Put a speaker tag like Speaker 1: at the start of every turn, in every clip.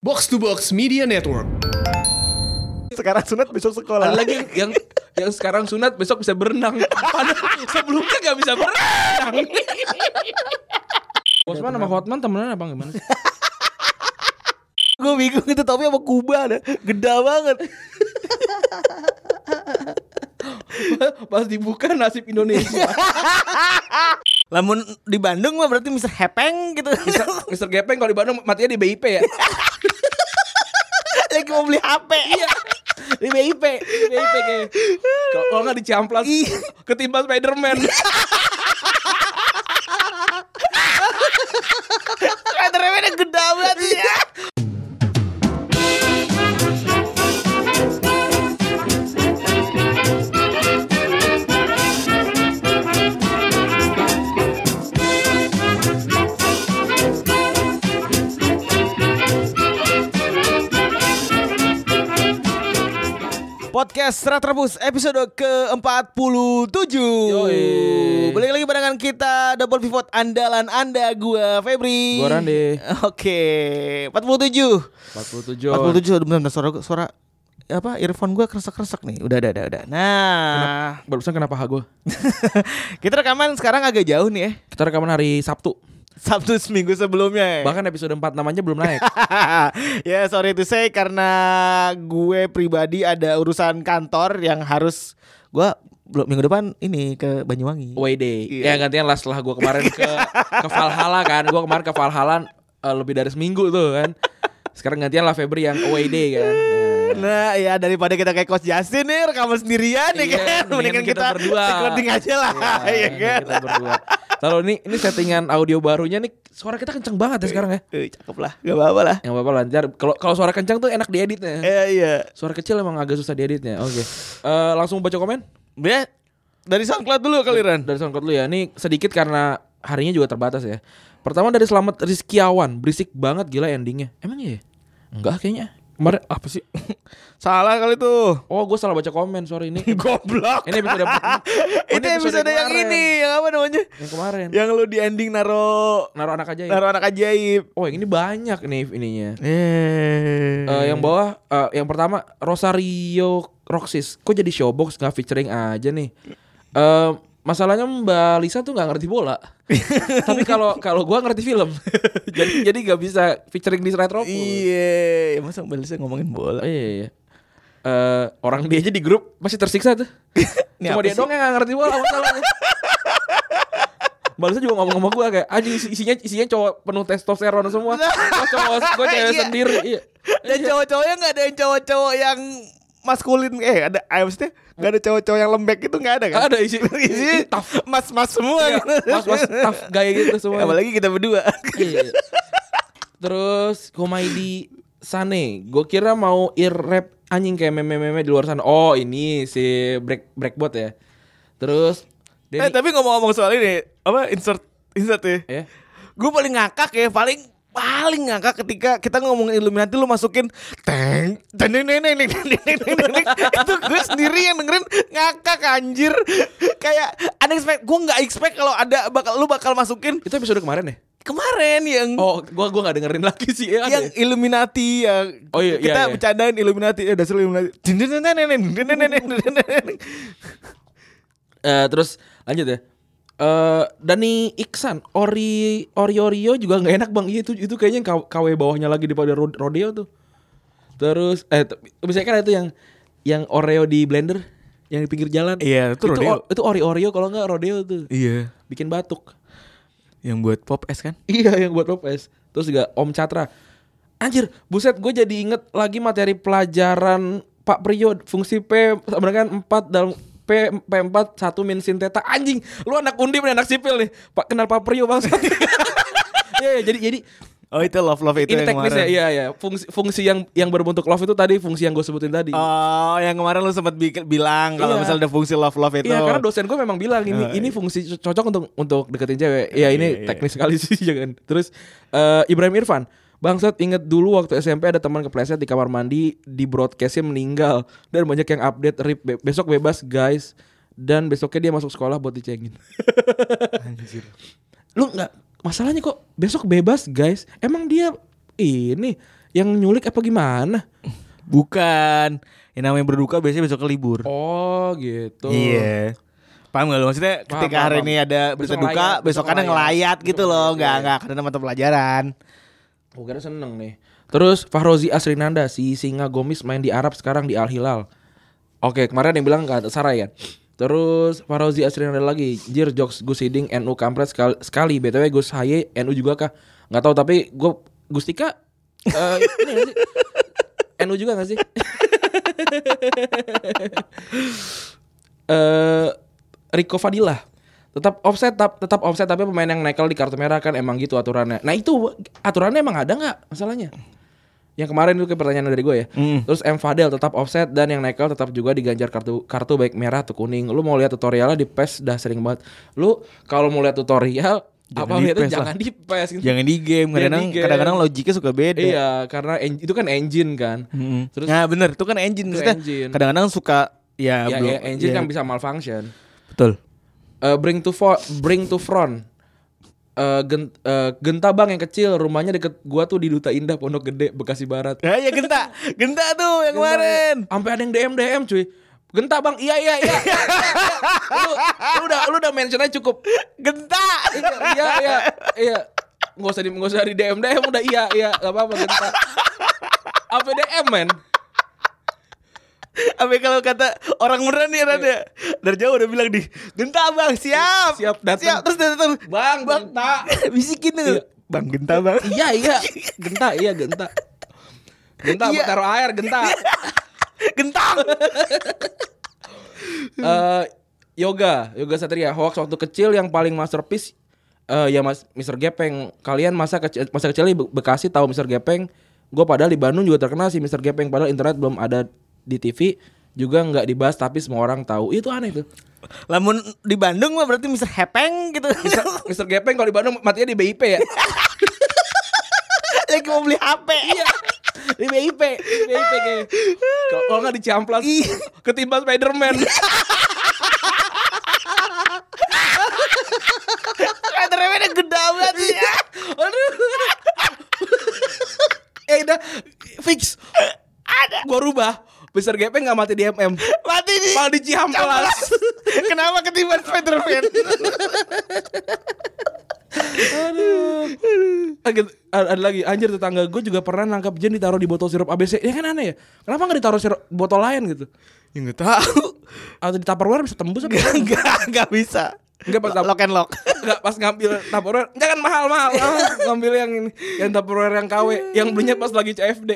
Speaker 1: Box to Box Media Network.
Speaker 2: Sekarang sunat besok sekolah.
Speaker 3: Ada lagi yang, yang yang sekarang sunat besok bisa berenang. Padahal sebelumnya nggak bisa berenang. Bosman sama Hotman temenan apa gimana? sih?
Speaker 2: Gue bingung itu topi sama Kuba ada. Geda banget.
Speaker 3: Pas dibuka nasib Indonesia.
Speaker 2: Lamun di Bandung mah berarti Mr. Hepeng gitu.
Speaker 3: Mister Gepeng kalau di Bandung matinya di BIP ya.
Speaker 2: lagi mau beli HP.
Speaker 3: Iya. Di BIP, di BIP kayak. Kalau kalau nggak dicamplas
Speaker 2: Iya.
Speaker 3: ketimbang Spiderman.
Speaker 2: Spider-Man yang geda banget ya. Podcast Retrebus episode ke-47
Speaker 3: Yoi.
Speaker 2: Balik lagi barengan kita Double pivot andalan anda Gua Febri
Speaker 3: Gua Randi.
Speaker 2: Oke 47 47 bentar,
Speaker 3: 47.
Speaker 2: bentar, suara suara apa earphone gue kresek-kresek nih. Udah, udah, udah, udah. Nah,
Speaker 3: Barusan kenapa ha gue?
Speaker 2: kita rekaman sekarang agak jauh nih ya.
Speaker 3: Kita rekaman hari Sabtu.
Speaker 2: Sabtu seminggu sebelumnya. Ya.
Speaker 3: Bahkan episode 4 namanya belum naik.
Speaker 2: ya, sorry to say karena gue pribadi ada urusan kantor yang harus gue belum minggu depan ini ke Banyuwangi.
Speaker 3: Way Day.
Speaker 2: Iya.
Speaker 3: Ya gantian lah setelah gue kemarin ke ke Valhalla kan. Gue kemarin ke Valhalla eh, lebih dari seminggu tuh kan. Sekarang gantian lah Febri yang Away Day kan. Nah.
Speaker 2: Nah, ya daripada kita kayak Coach Justin nih rekaman sendirian ya
Speaker 3: Iya,
Speaker 2: kan. Mendingan kita, recording aja lah,
Speaker 3: Iya,
Speaker 2: ya
Speaker 3: mendingan
Speaker 2: kan.
Speaker 3: Kita berdua. Lalu ini ini settingan audio barunya nih suara kita kenceng banget ya sekarang ya.
Speaker 2: Eh, cakep lah, gak apa-apa lah.
Speaker 3: Yang bapak lancar. Kalau kalau suara kencang tuh enak dieditnya.
Speaker 2: Eh, iya.
Speaker 3: Suara kecil emang agak susah dieditnya. Oke. Eh, langsung baca komen
Speaker 2: Ya, dari SoundCloud dulu kali Ran.
Speaker 3: dari SoundCloud lu ya. Ini sedikit karena harinya juga terbatas ya. Pertama dari Selamat Rizkiawan, berisik banget gila endingnya. Emang iya? ya? Enggak kayaknya. Kemarin apa sih?
Speaker 2: Salah kali tuh.
Speaker 3: Oh, gue salah baca komen. Sorry ini.
Speaker 2: Goblok.
Speaker 3: Ini episode empat- Oh,
Speaker 2: itu episode, yang
Speaker 3: kemarin.
Speaker 2: ini, yang apa namanya?
Speaker 3: Yang kemarin.
Speaker 2: Yang lu di ending naro
Speaker 3: Naruh anak aja ya.
Speaker 2: naro anak ajaib.
Speaker 3: Oh, yang ini banyak nih ininya.
Speaker 2: Eh,
Speaker 3: Eh, yang bawah eh, yang pertama Rosario Roxis. Kok jadi showbox nggak featuring aja nih? Eh masalahnya Mbak Lisa tuh nggak ngerti bola. Tapi kalau kalau gua ngerti film. jadi jadi nggak bisa featuring di Retro.
Speaker 2: Iya, ya, masa Mbak Lisa ngomongin bola.
Speaker 3: Oh, iya, iya. Eh, orang dia aja di grup masih tersiksa tuh.
Speaker 2: Ini apa
Speaker 3: Cuma dia
Speaker 2: sih?
Speaker 3: doang yang gak ngerti bola masalahnya. Barusan juga ngomong sama gue kayak anjing isi- isinya isinya cowok penuh testosteron semua. Gue cowok, gue cewek
Speaker 2: Iya.
Speaker 3: sendiri. Iya.
Speaker 2: Dan cowok-cowoknya nggak ada yang cowok-cowok yang maskulin eh ada eh, maksudnya nggak ada cowok-cowok yang lembek itu nggak ada kan
Speaker 3: Ada isi
Speaker 2: Isinya
Speaker 3: isi tough.
Speaker 2: mas-mas semua
Speaker 3: Iya,
Speaker 2: gitu.
Speaker 3: Mas-mas tough gaya gitu semua.
Speaker 2: apalagi kita berdua
Speaker 3: Iya. Terus Komaidi Sane, gue kira mau irrap anjing kayak meme-meme di luar sana. Oh, ini si break breakbot ya. Terus
Speaker 2: eh,
Speaker 3: Denny,
Speaker 2: tapi ngomong-ngomong soal ini apa insert insert ya
Speaker 3: ya.
Speaker 2: Gue paling ngakak ya, paling paling ngakak ketika kita ngomongin Illuminati lu masukin teng teng teng teng teng teng teng, teng, teng, teng. itu gue sendiri yang dengerin ngakak anjir kayak unexpected gue nggak expect kalau ada bakal lu bakal masukin
Speaker 3: Itu episode kemarin ya?
Speaker 2: kemarin yang
Speaker 3: Oh, gua gua gak dengerin lagi sih. Ya,
Speaker 2: Hmm. yang
Speaker 3: ada ya?
Speaker 2: Illuminati yang
Speaker 3: Oh, iya, iya,
Speaker 2: kita
Speaker 3: iya.
Speaker 2: bercandain Illuminati ya dasar Illuminati Teng, teng, teng, teng, teng, teng, teng, teng, teng, teng, teng, teng.
Speaker 3: Eh, terus lanjut ya. Eh, Dani Iksan, Ori Ori Orio juga nggak enak bang. Iya itu itu kayaknya yang K- KW bawahnya lagi di pada Ro- rodeo tuh. Terus eh t- misalnya kan itu yang yang Oreo di blender yang di pinggir jalan.
Speaker 2: Iya, itu rodeo.
Speaker 3: o- Itu Ori Oreo kalau nggak rodeo tuh.
Speaker 2: iya
Speaker 3: Bikin batuk.
Speaker 2: yang buat pop es kan
Speaker 3: Iya yang buat Lopez. Terus juga Om Catra. Anjir, buset gue jadi inget lagi materi pelajaran Pak Priyo fungsi P sama dengan 4 dalam P P4 1 min sinteta. Anjing, lu anak undip nih anak sipil nih. Pak kenal Pak Priyo Bang. Iya, iya, jadi jadi
Speaker 2: oh itu love love itu yang
Speaker 3: ini teknis ya,
Speaker 2: kemarin.
Speaker 3: iya iya. Fungsi fungsi yang yang berbentuk love itu tadi fungsi yang gue sebutin tadi.
Speaker 2: Oh, yang kemarin lu sempat bilang kalau
Speaker 3: Iya.
Speaker 2: misalnya ada fungsi love love itu.
Speaker 3: Iya, karena dosen gue memang bilang ini ini fungsi co- cocok untuk untuk deketin cewek. Iya, ini
Speaker 2: Ah, iya.
Speaker 3: teknis sekali sih jangan. Terus eh, Ibrahim Irfan, bangsat inget dulu waktu SMP ada teman kepleset di kamar mandi di broadcastnya meninggal dan banyak yang update rip be- besok bebas guys dan besoknya dia masuk sekolah buat dicengin.
Speaker 2: Anjir.
Speaker 3: Lu nggak masalahnya kok besok bebas guys. Emang dia ini yang nyulik apa gimana?
Speaker 2: Bukan. Yang namanya berduka biasanya besok libur.
Speaker 3: Oh gitu.
Speaker 2: Iya. Paham gak lu maksudnya ketika
Speaker 3: paham,
Speaker 2: hari
Speaker 3: paham.
Speaker 2: ini ada berita
Speaker 3: Besok
Speaker 2: duka,
Speaker 3: ngelayat,
Speaker 2: besok kan
Speaker 3: besok
Speaker 2: ngelayat
Speaker 3: ngelayat.
Speaker 2: gitu
Speaker 3: Besok
Speaker 2: loh,
Speaker 3: ngelayat,
Speaker 2: nggak
Speaker 3: iya.
Speaker 2: nggak karena mata pelajaran.
Speaker 3: Oh, gara seneng nih. Terus Fahrozi Asrinanda si Singa Gomis main di Arab sekarang di Al Hilal. Oke, kemarin ada yang bilang nggak ada Sarai kan. Terus Fahrozi Asrinanda lagi, Jir Jokes Gus Hiding NU kampret sekali, sekali. BTW Gus Haye NU juga kah? Nggak tahu tapi gue Gustika eh ini nggak sih? NU juga gak sih? eh Rico Fadila tetap offset tap- tetap offset tapi pemain yang nekel di kartu merah kan emang gitu aturannya. Nah itu aturannya emang ada nggak masalahnya? Yang kemarin itu kayak pertanyaan dari gue ya.
Speaker 2: Hmm.
Speaker 3: Terus M Fadel tetap offset dan yang nekel tetap juga diganjar kartu kartu baik merah atau kuning. Lu mau lihat tutorialnya di PES dah sering banget. Lu kalau mau lihat tutorial
Speaker 2: Jangan
Speaker 3: apa
Speaker 2: di
Speaker 3: lihatnya
Speaker 2: PES lah.
Speaker 3: jangan di PES gitu.
Speaker 2: Jangan Iya, di game,
Speaker 3: Jangan
Speaker 2: kadang
Speaker 3: di game.
Speaker 2: kadang-kadang logiknya suka beda.
Speaker 3: Iya, karena en- itu kan engine kan.
Speaker 2: Mm-mm.
Speaker 3: Terus
Speaker 2: nah bener, itu kan engine.
Speaker 3: Itu
Speaker 2: Maksudnya
Speaker 3: engine.
Speaker 2: Kadang-kadang suka ya,
Speaker 3: ya,
Speaker 2: belum-
Speaker 3: ya, engine
Speaker 2: ya,
Speaker 3: yang bisa malfunction.
Speaker 2: betul.
Speaker 3: Eh, bring to fo- bring to front. Eh, gen- eh, gentabang yang kecil, rumahnya deket gua tuh di Duta Indah Pondok Gede Bekasi Barat.
Speaker 2: Ya, ya genta, genta tuh yang kemarin.
Speaker 3: Sampai ada yang DM DM cuy. Genta bang, iya iya iya. iya, iya. lu, lu udah lu udah mention aja cukup.
Speaker 2: Genta.
Speaker 3: Iya iya iya. iya. Nggak usah di nggak usah di DM DM udah iya iya nggak apa-apa genta. Sampai DM men.
Speaker 2: Apa kalau kata orang beneran nih ada dari jauh udah bilang di genta bang siap
Speaker 3: Iya. Siap, datang.
Speaker 2: siap terus datang
Speaker 3: Bang, genta.
Speaker 2: bisikin tuh
Speaker 3: Iya.
Speaker 2: bang genta bang
Speaker 3: Iya iya genta iya genta. Genta
Speaker 2: Iya.
Speaker 3: taruh air genta.
Speaker 2: gentang
Speaker 3: Eh, yoga, yoga Satria hoax waktu kecil yang paling masterpiece eh, ya Mas Mr. Gepeng. Kalian masa kecil masa kecil di Be- Bekasi tahu Mr. Gepeng? Gue padahal di Bandung juga terkenal sih Mr. Gepeng padahal internet belum ada di TV juga nggak dibahas tapi semua orang tahu. Itu aneh tuh.
Speaker 2: lamun di Bandung mah berarti Mister Hepeng gitu
Speaker 3: Mr. Gepeng kalau di Bandung matinya di BIP ya.
Speaker 2: lagi mau beli HP iya
Speaker 3: di BIP, di BIP kayaknya. Kalau- Kalau nggak dicamplas
Speaker 2: Iya.
Speaker 3: ketimbang Spiderman.
Speaker 2: Spiderman yang gede banget Iya. sih
Speaker 3: Aduh. eh udah fix. Ada. Gua rubah. Besar Gepeng gak mati di MM.
Speaker 2: mati di
Speaker 3: Malah di Cihampelas.
Speaker 2: kenapa ketiban Spiderman
Speaker 3: Aduh. Ah, gitu. Ada, ada lagi anjir tetangga gue juga pernah nangkap jin ditaruh di botol sirup ABC. Ya kan aneh ya. Kenapa nggak ditaruh sirup botol lain gitu?
Speaker 2: ya nggak tahu
Speaker 3: Atau di Tupperware bisa tembus apa?
Speaker 2: nggak nggak nggak bisa
Speaker 3: Nggak, pas-
Speaker 2: lock and lock
Speaker 3: Enggak pas ngambil Tupperware. Jangan mahal-mahal. Ah, ngambil yang ini, yang Tupperware yang KW, yang belinya pas lagi CFD.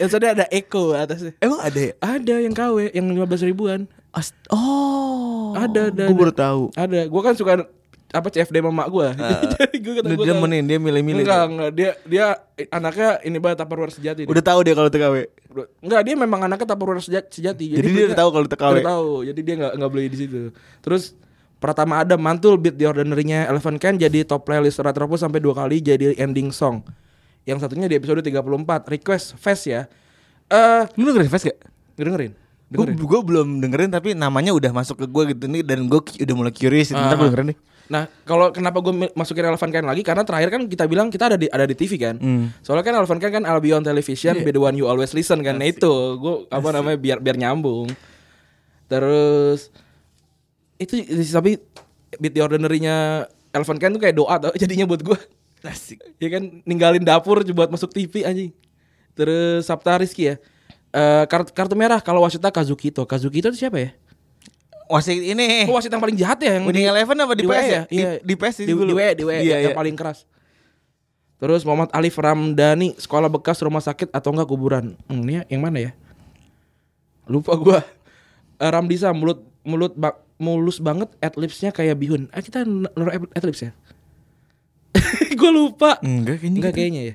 Speaker 3: yang tadi ada Eko atasnya. Eh,
Speaker 2: emang ada ya
Speaker 3: Ada yang KW yang 15 ribuan.
Speaker 2: Ast- oh
Speaker 3: Ada, ada,
Speaker 2: gue baru
Speaker 3: ada.
Speaker 2: tahu Ah.
Speaker 3: Ada. Gua kan suka apa CFD mama gua. Jadi gua kata
Speaker 2: dia
Speaker 3: gua tahu.
Speaker 2: demenin dia milih-milih
Speaker 3: Enggak, enggak. Dia dia anaknya ini banget Tupperware sejati. dia.
Speaker 2: udah tahu dia kalau TKW
Speaker 3: Enggak, dia memang anaknya Tupperware seja- sejati.
Speaker 2: Jadi dia
Speaker 3: belinya-
Speaker 2: udah tahu kalau TKW.
Speaker 3: Udah tahu. Jadi dia enggak enggak beli di situ. Terus Pratama Adam mantul beat di ordinary-nya Eleven Can jadi top playlist Retropus sampai dua kali jadi ending song. Yang satunya di episode 34 request Fest ya. Eh,
Speaker 2: lu dengerin Fest gak
Speaker 3: dengerin.
Speaker 2: Gue
Speaker 3: Dengerin.
Speaker 2: belum dengerin tapi namanya udah masuk ke gue gitu nih dan gue udah mulai curious gitu.
Speaker 3: Ah.
Speaker 2: ntar gue Iya, dengerin nih.
Speaker 3: Nah, kalau kenapa gue masukin Elephant Can lagi? Karena terakhir kan kita bilang kita ada di ada di TV kan. Soalnya kan Elephant Can kan I'll Be on Television, Be the One You Always Listen kan. Nah itu gue apa namanya biar biar nyambung. Terus itu tapi beat the ordinary-nya Elephant Can tuh kayak doa tau jadinya buat gue.
Speaker 2: Asik.
Speaker 3: ya kan ninggalin dapur buat masuk TV anjing. Terus Sabta Rizky ya. Eh kartu, kartu merah kalau wasitnya Kazukito. Kazukito itu siapa ya?
Speaker 2: Wasit ini.
Speaker 3: Oh, wasit yang paling jahat ya yang
Speaker 2: Winning Eleven apa di
Speaker 3: WA
Speaker 2: PS ya?
Speaker 3: ya? Iya.
Speaker 2: Di- di PS sih
Speaker 3: di,
Speaker 2: dulu.
Speaker 3: di WA, di WA,
Speaker 2: Iya, iya.
Speaker 3: yang paling keras. Terus Muhammad Alif Ramdhani sekolah bekas rumah sakit atau enggak kuburan? Hmm, ini yang mana ya? Lupa gua. Eh, Ramdisa mulut mulut ba- mulus banget adlibsnya kayak bihun. Ah kita naruh ad- adlibs ya? gua lupa.
Speaker 2: Enggak kayaknya.
Speaker 3: Enggak kayaknya ya.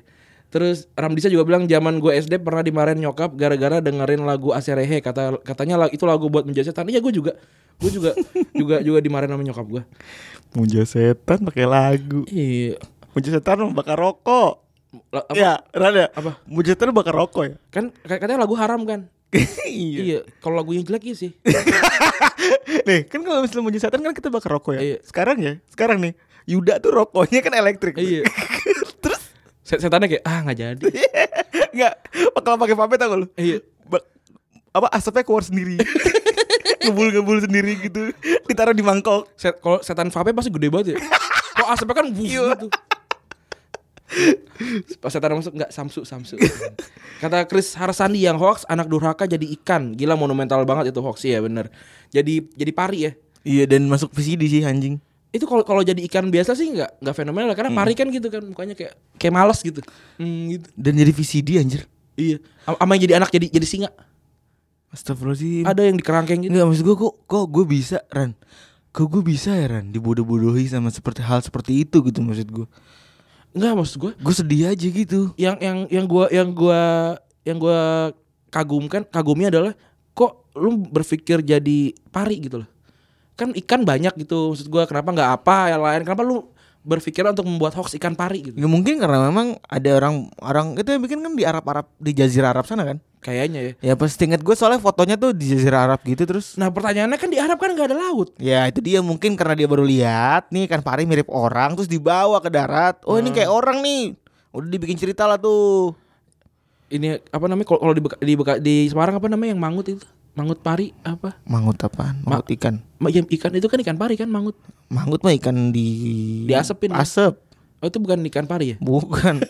Speaker 3: Terus Ramdisa juga bilang zaman gue SD pernah dimarahin nyokap gara-gara dengerin lagu Aserehe kata katanya la- itu lagu buat menjajatan. Iya gue juga. Gue juga juga juga dimarahin sama nyokap gue.
Speaker 2: Muja setan pakai lagu.
Speaker 3: Iya.
Speaker 2: Muja setan bakar rokok.
Speaker 3: La- apa-
Speaker 2: Ya, Rada.
Speaker 3: Apa?
Speaker 2: Muja setan bakar rokok ya?
Speaker 3: Kan ka- katanya lagu haram kan? Iya.
Speaker 2: iya.
Speaker 3: Kalau lagunya jelek iya sih.
Speaker 2: Nih, kan kalau misalnya muja setan kan kita bakar rokok ya.
Speaker 3: Iya.
Speaker 2: Sekarang ya, sekarang nih. Yuda tuh rokoknya kan elektrik.
Speaker 3: Iya.
Speaker 2: Terus
Speaker 3: Set setannya kayak ah nggak jadi.
Speaker 2: Enggak, kalau pakai vape tau gak lu?
Speaker 3: Iya.
Speaker 2: Ba- apa asapnya keluar sendiri. Ngebul-ngebul sendiri gitu. Ditaruh di mangkok.
Speaker 3: Set kalau setan vape pasti gede banget ya. Kok asapnya kan wuh gitu. Pas setan masuk nggak samsu samsu. Kata Chris Harsandi yang hoax anak durhaka jadi ikan. Gila monumental banget itu hoax ya bener. Jadi jadi pari ya.
Speaker 2: Iya dan masuk VCD sih anjing.
Speaker 3: itu kalau kalau jadi ikan biasa sih nggak nggak fenomenal karena pari kan gitu kan mukanya kayak kayak malas gitu hmm, gitu
Speaker 2: Dan jadi VCD anjir.
Speaker 3: iya A- sama yang jadi anak jadi jadi singa
Speaker 2: Astagfirullahaladzim.
Speaker 3: ada yang dikerangkeng gitu
Speaker 2: Enggak maksud gue kok kok gue bisa Ran. Kok gue bisa ya Ran dibodoh-bodohi sama seperti hal seperti itu gitu maksud gue.
Speaker 3: nggak maksud gue
Speaker 2: Gue sedih aja gitu.
Speaker 3: yang yang yang gua yang gua yang gua kagumkan kagumnya adalah kok lu berpikir jadi pari gitu loh kan ikan banyak gitu maksud gua kenapa nggak apa yang lain kenapa lu berpikiran untuk membuat hoax ikan pari gitu
Speaker 2: Ya mungkin karena memang ada orang orang itu yang bikin kan di Arab-Arab di Jazirah Arab sana kan.
Speaker 3: kayaknya
Speaker 2: Ya
Speaker 3: ya
Speaker 2: pasti inget gue soalnya fotonya tuh di Jazirah Arab gitu terus
Speaker 3: nah pertanyaannya kan di Arab kan nggak ada laut
Speaker 2: Ya itu dia mungkin karena dia baru lihat nih kan pari mirip orang terus dibawa ke darat. Oh ini kayak orang nih. Udah dibikin cerita lah tuh.
Speaker 3: ini apa namanya kalau kalau di Beka- di, Beka- di Semarang apa namanya yang mangut itu mangut pari apa
Speaker 2: Mangut apaan? Mangut ikan.
Speaker 3: Ma- yang ikan itu kan ikan pari kan mangut
Speaker 2: Mangut mah ikan di
Speaker 3: Diasepin.
Speaker 2: Asep.
Speaker 3: oh itu bukan ikan pari ya
Speaker 2: Bukan.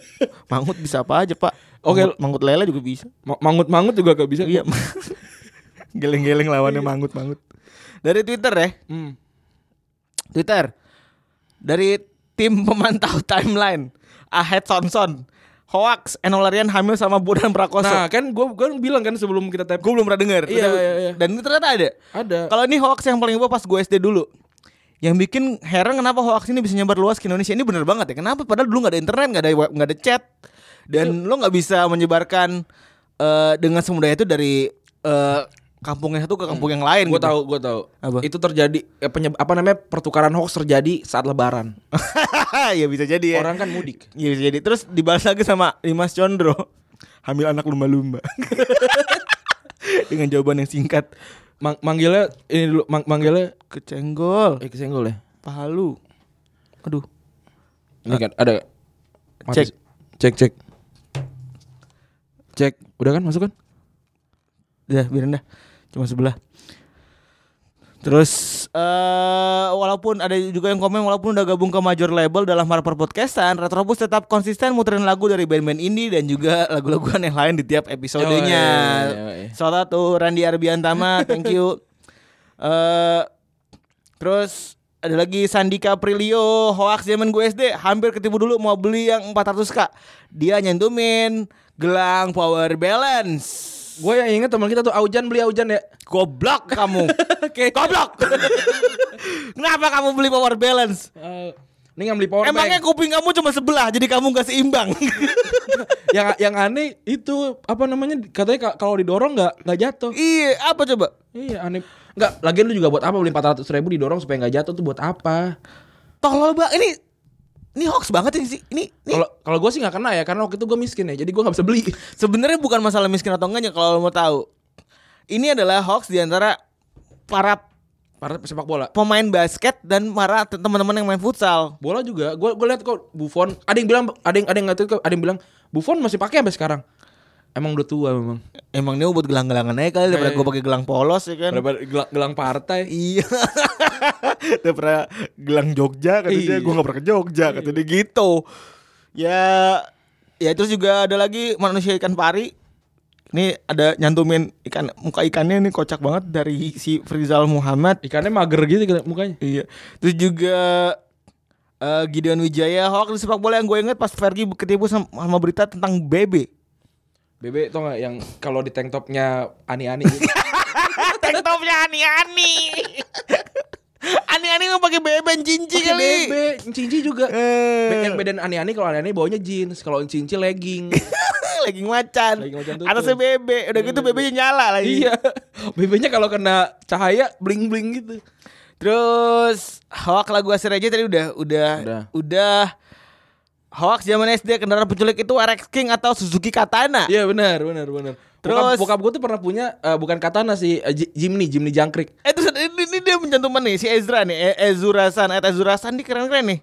Speaker 2: mangut bisa apa aja, Pak.
Speaker 3: Oke.
Speaker 2: Mangut, mangut lele juga bisa.
Speaker 3: mangut mangut juga gak bisa
Speaker 2: Iya. Geleng-geleng lawannya mangut-mangut. Iya. Dari Twitter ya.
Speaker 3: Hmm.
Speaker 2: Twitter dari tim pemantau timeline Ahed Sonson hoax Enol Larian hamil sama Budan Prakoso
Speaker 3: nah kan gue gue bilang kan sebelum kita tap
Speaker 2: gue belum pernah dengar
Speaker 3: Iya,
Speaker 2: Tapi-
Speaker 3: iya, iya.
Speaker 2: dan itu ternyata ada
Speaker 3: ada
Speaker 2: kalau ini hoax yang paling gue pas gue SD dulu yang bikin heran kenapa hoax ini bisa nyebar luas ke Indonesia ini bener banget ya kenapa padahal dulu nggak ada internet nggak ada wa- nggak ada chat dan
Speaker 3: Iya.
Speaker 2: lo nggak bisa menyebarkan eh, dengan semudah itu dari eh, kampung yang satu ke kampung yang lain
Speaker 3: gue
Speaker 2: gitu.
Speaker 3: Hmm. tahu gue tahu
Speaker 2: Apa?
Speaker 3: itu terjadi eh, penyeb- apa namanya pertukaran hoax terjadi saat lebaran
Speaker 2: ya bisa jadi ya
Speaker 3: orang kan mudik
Speaker 2: Iya bisa jadi Terus dibahas lagi sama Dimas Condro Hamil anak lumba-lumba Dengan jawaban yang singkat
Speaker 3: Mang- manggilnya ini dulu mang- manggilnya
Speaker 2: Kecenggol
Speaker 3: eh kesenggol ya
Speaker 2: Pahalu Aduh
Speaker 3: ini kan ada
Speaker 2: Cek.
Speaker 3: cek cek cek udah kan masuk kan
Speaker 2: Udah biarin dah Cuma sebelah Terus eh walaupun ada juga yang komen walaupun udah gabung ke major label dalam Harper Podcastan, Retrobus tetap konsisten muterin lagu dari band-band indie dan juga lagu-laguan yang lain di tiap episodenya.
Speaker 3: Yoi, yoi.
Speaker 2: Shout tuh Randy Arbiantama, thank you. eh terus ada lagi Sandika Prilio, hoax zaman gue SD, hampir ketipu dulu mau beli yang 400k. Dia nyentumin gelang power balance.
Speaker 3: Gue yang inget teman kita tuh Aujan beli Aujan ya.
Speaker 2: Goblok kamu. Goblok. Kenapa kamu beli power balance?
Speaker 3: ini yang beli power
Speaker 2: Eh. Emangnya
Speaker 3: bank.
Speaker 2: kuping kamu cuma sebelah jadi kamu gak seimbang.
Speaker 3: yang yang aneh itu apa namanya katanya ka- kalau didorong nggak nggak jatuh.
Speaker 2: iya, apa coba?
Speaker 3: Iya aneh. Nggak. Lagian lu juga buat apa beli 400 ribu didorong supaya nggak jatuh tuh buat apa?
Speaker 2: Tolol banget ini. Ini hoax banget ini sih. Ini, ini
Speaker 3: Kalau kalau gue sih nggak kena ya karena waktu itu gue miskin ya jadi gue nggak bisa beli.
Speaker 2: sebenarnya bukan masalah miskin atau enggaknya kalau lo mau tahu. Ini adalah hoax di antara para
Speaker 3: Para sepak bola.
Speaker 2: pemain basket dan para te- teman-teman yang main futsal.
Speaker 3: Bola juga. Gue gue lihat kok Buffon. Ada yang bilang ada yang ada yang ngatain kok, ada yang bilang Buffon masih pakai sampai sekarang. Emang udah tua memang.
Speaker 2: Emang ini buat gelang-gelangan aja kali daripada
Speaker 3: Iya,
Speaker 2: gue pakai gelang polos ya kan.
Speaker 3: Daripada gelang, gelang partai.
Speaker 2: Iya. Dia pernah gelang Jogja kata dia,
Speaker 3: Iya.
Speaker 2: gua gak pernah ke Jogja kata dia gitu. Ya ya terus juga ada lagi manusia ikan pari. Ini ada nyantumin ikan muka ikannya ini kocak banget dari si Frizal Muhammad.
Speaker 3: Ikannya mager gitu kena mukanya.
Speaker 2: Iya. Terus juga eh, Gideon Wijaya hoax di sepak bola yang gue inget pas Fergie ketipu sama, sama berita tentang BB.
Speaker 3: Bebe tau gak yang kalau di tank topnya ani-ani gitu.
Speaker 2: Tank topnya ani-ani. ani-ani nggak pakai BB cincin
Speaker 3: Pakai
Speaker 2: kali.
Speaker 3: bebe, cinci juga.
Speaker 2: Eh.
Speaker 3: Be- Yang bedan aneh-aneh kalau aneh-aneh bawanya jeans, kalau cinci legging.
Speaker 2: lagi macan.
Speaker 3: Lagi macan tutul.
Speaker 2: Atasnya bebek. Udah gitu bebeknya nyala lagi.
Speaker 3: iya. Bebenya kalau kena cahaya bling-bling gitu.
Speaker 2: Terus hoax lagu Asir aja tadi udah udah
Speaker 3: Udah.
Speaker 2: udah. hoax zaman SD kendaraan penculik itu RX King atau Suzuki Katana.
Speaker 3: Iya benar, benar, benar. Terus
Speaker 2: Terus-
Speaker 3: bokap, gue tuh pernah punya eh, bukan katana sih, eh, Ji- Jimny, Jimny jangkrik.
Speaker 2: Eh terus eh, ada- ini, ini dia mencantumkan nih si Ezra nih, E- Ezurasan, Ed Ezurasan nih keren-keren nih.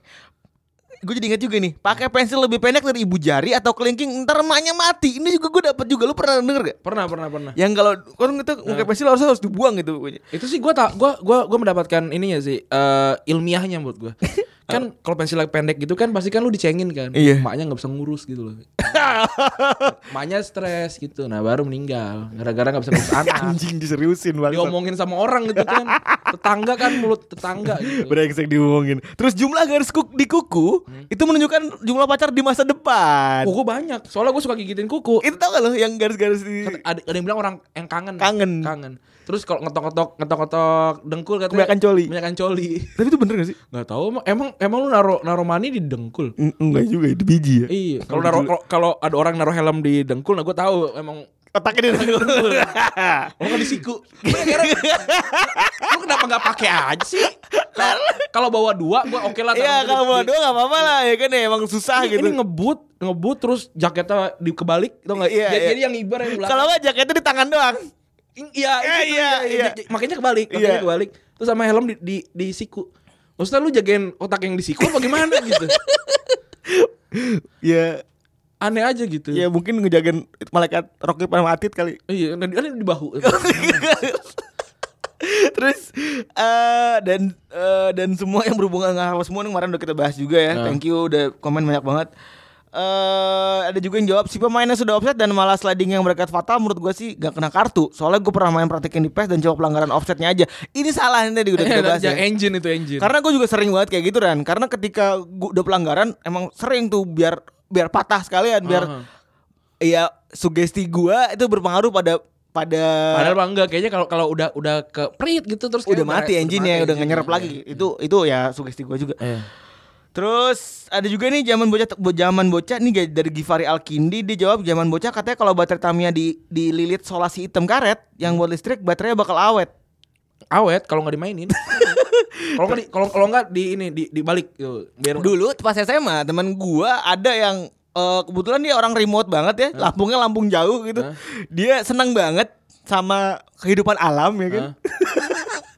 Speaker 2: gue jadi ingat juga nih. Pakai pensil lebih pendek dari ibu jari atau kelingking, ntar emaknya mati. Ini juga gue dapat juga. Lu pernah denger gak?
Speaker 3: Pernah pernah pernah.
Speaker 2: Yang kalau kan itu pakai pensil harus harus dibuang gitu. pokoknya.
Speaker 3: Itu sih gua tak gua gua gua mendapatkan ininya sih eh, ilmiahnya menurut gua. kan kalau pensil pendek gitu kan pasti kan lu dicengin kan.
Speaker 2: Iya.
Speaker 3: Maknya nggak bisa ngurus gitu loh. Maknya stres gitu. Nah, baru meninggal gara-gara nggak bisa ngurus anak.
Speaker 2: Anjing diseriusin banget.
Speaker 3: Diomongin sama orang gitu kan. Tetangga kan mulut tetangga gitu.
Speaker 2: Brengsek diomongin. Terus jumlah garis kuk- di kuku itu menunjukkan jumlah pacar di masa depan.
Speaker 3: Kuku banyak. Soalnya gua suka gigitin kuku.
Speaker 2: Itu tau gak lo yang garis-garis di
Speaker 3: Kata- ada, ada yang bilang orang yang kangen
Speaker 2: Kangen.
Speaker 3: kangen terus kalau ngetok-ngetok ngetok-ngetok dengkul katanya
Speaker 2: Kebanyakan coli.
Speaker 3: kebanyakan coli
Speaker 2: Tapi itu bener gak sih?
Speaker 3: nggak tahu emang- emang emang lu naro naro mani di dengkul
Speaker 2: Enggak juga itu biji ya.
Speaker 3: iya kalau naro kalau- kalau ada orang naro helm di dengkul nah gue tahu emang
Speaker 2: Otaknya di
Speaker 3: Oh kan di siku Gua kira- Lu kenapa gak pakai aja sih Kalau- Kalau bawa dua gue oke lah
Speaker 2: Iya
Speaker 3: taruh
Speaker 2: kalau
Speaker 3: di-
Speaker 2: mau
Speaker 3: di-
Speaker 2: doang gak apa-apa lah ya kan ya emang susah
Speaker 3: ini,
Speaker 2: gitu.
Speaker 3: ini ngebut Ngebut terus jaketnya di kebalik tau gak
Speaker 2: Iya,
Speaker 3: jadi,
Speaker 2: iya.
Speaker 3: jadi yang ibar yang belakang
Speaker 2: Kalau nggak jaketnya di tangan doang.
Speaker 3: I- Iya,
Speaker 2: Eh,
Speaker 3: itu,
Speaker 2: iya, iya.
Speaker 3: j- j- Makanya kebalik,
Speaker 2: Iya.
Speaker 3: makanya kebalik. Terus sama helm di, di, di siku. Maksudnya lu jagain otak yang di siku apa gimana gitu?
Speaker 2: Ya
Speaker 3: Aneh aja gitu.
Speaker 2: ya mungkin ngejagain malaikat Rocky Panamatit kali.
Speaker 3: Iya, nah, di- ada di bahu.
Speaker 2: Terus eh dan eh, dan semua yang berhubungan dengan hal semua ini kemarin udah kita bahas juga ya.
Speaker 3: Nah.
Speaker 2: Thank you udah komen banyak banget. eh ada juga yang jawab si pemainnya sudah offset dan malah sliding yang berkat fatal menurut gue sih gak kena kartu. Soalnya gue pernah main praktekin di PES dan coba pelanggaran offsetnya aja. Ini salah ini tadi udah kita bahas ya.
Speaker 3: Yang engine itu engine.
Speaker 2: Karena gue juga sering banget kayak gitu Ran Karena ketika gue udah pelanggaran Emang sering tuh biar biar patah sekalian Biar
Speaker 3: Aha.
Speaker 2: ya sugesti gue itu berpengaruh pada pada
Speaker 3: Padahal mah enggak kayaknya kalau kalau udah udah ke prit gitu terus
Speaker 2: Udah
Speaker 3: kayak
Speaker 2: mati engine ya Udah nggak nyerap
Speaker 3: engine-nya.
Speaker 2: lagi Itu itu ya sugesti gue juga
Speaker 3: Iya.
Speaker 2: Terus ada juga nih zaman bocah bo- zaman bocah nih ga- dari Givari Alkindi dia jawab zaman bocah katanya kalau baterai Tamiya di dililit solasi hitam karet yang buat listrik baterainya bakal awet.
Speaker 3: Awet kalau nggak dimainin. Kalau nggak di kalau kalau nggak di ini di dibalik gitu. Biar
Speaker 2: Dulu pas SMA teman gua ada yang eh, kebetulan dia orang remote banget ya, Lampungnya Lampung jauh gitu.
Speaker 3: Hah?
Speaker 2: Dia senang banget sama kehidupan alam ya kan.
Speaker 3: Hah?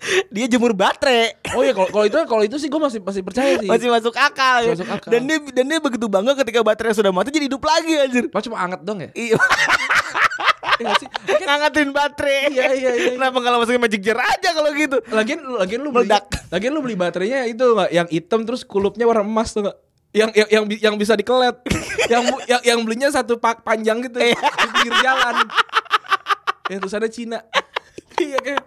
Speaker 2: dia jemur baterai.
Speaker 3: Oh iya kalau kalau itu kalau itu sih gue masih masih percaya sih.
Speaker 2: Masih masuk akal ya.
Speaker 3: Masuk akal.
Speaker 2: Dan dia dan dia begitu bangga ketika baterai sudah mati jadi hidup lagi anjir.
Speaker 3: Lo cuma anget dong ya?
Speaker 2: Iya,
Speaker 3: Iya nggak sih?
Speaker 2: ngangatin baterai.
Speaker 3: Iya, iya, iya.
Speaker 2: Kenapa nggak masukin magic jar aja kalau gitu?
Speaker 3: Lagian lagian lu beli,
Speaker 2: Meledak.
Speaker 3: Lagian lu beli baterainya itu nggak yang hitam terus kulupnya warna emas tuh nggak? Yang yang yang, bi- yang bisa dikelet. yang, bu- yang yang belinya satu pak panjang gitu
Speaker 2: Iya.
Speaker 3: di pinggir jalan. Yang tulisannya Cina. iya kan.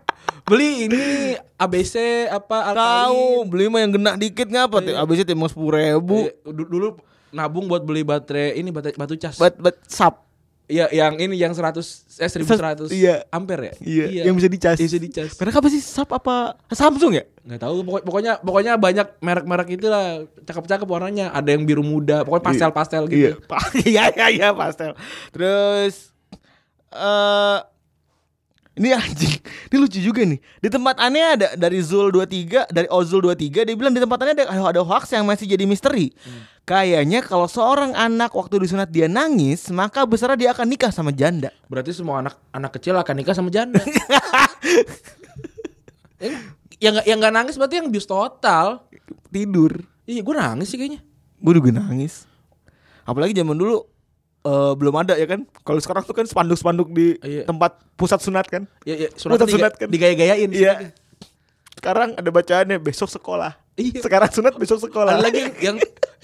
Speaker 3: Beli ini ABC apa
Speaker 2: Tahu beli mah yang genak dikit ngapa?
Speaker 3: Iya.
Speaker 2: tuh? Abisnya timbang sepuluh ribu.
Speaker 3: Bu Iya, dulu nabung buat beli baterai ini baterai batu cas.
Speaker 2: Bat bat sap.
Speaker 3: ya yang ini yang 100 eh 1100
Speaker 2: Iya.
Speaker 3: ampere ya?
Speaker 2: yang bisa dicas.
Speaker 3: Yang bisa dicas.
Speaker 2: Mereka apa sih sap apa Samsung ya?
Speaker 3: nggak tahu pokok- pokoknya pokoknya banyak merek-merek itulah cakep-cakep warnanya ada yang biru muda pokoknya pastel-pastel
Speaker 2: Iya,
Speaker 3: gitu
Speaker 2: pa- iya, iya, iya, pastel. Terus eh ini anjing, ini lucu juga nih. Di tempat aneh ada dari Zul 23, dari Ozul 23 dia bilang di tempat aneh ada ada hoax yang masih jadi misteri. Kayaknya kalau seorang anak waktu disunat dia nangis, maka besarnya dia akan nikah sama janda.
Speaker 3: berarti semua anak anak kecil akan nikah sama janda Eh, yang nggak- yang nggak nangis berarti yang bius total
Speaker 2: Tidur.
Speaker 3: iya gue nangis sih kayaknya
Speaker 2: Gue juga nangis. Apalagi zaman dulu eh, belum ada ya kan. Kalau sekarang tuh kan spanduk-spanduk di
Speaker 3: Iya.
Speaker 2: tempat pusat sunat kan.
Speaker 3: ya, ya
Speaker 2: Gua tetap sunat
Speaker 3: sunat
Speaker 2: kan.
Speaker 3: digaya-gayain
Speaker 2: Iya. Sekarang ada bacaannya besok sekolah.
Speaker 3: Iya.
Speaker 2: Sekarang sunat besok sekolah.
Speaker 3: ada lagi yang, yang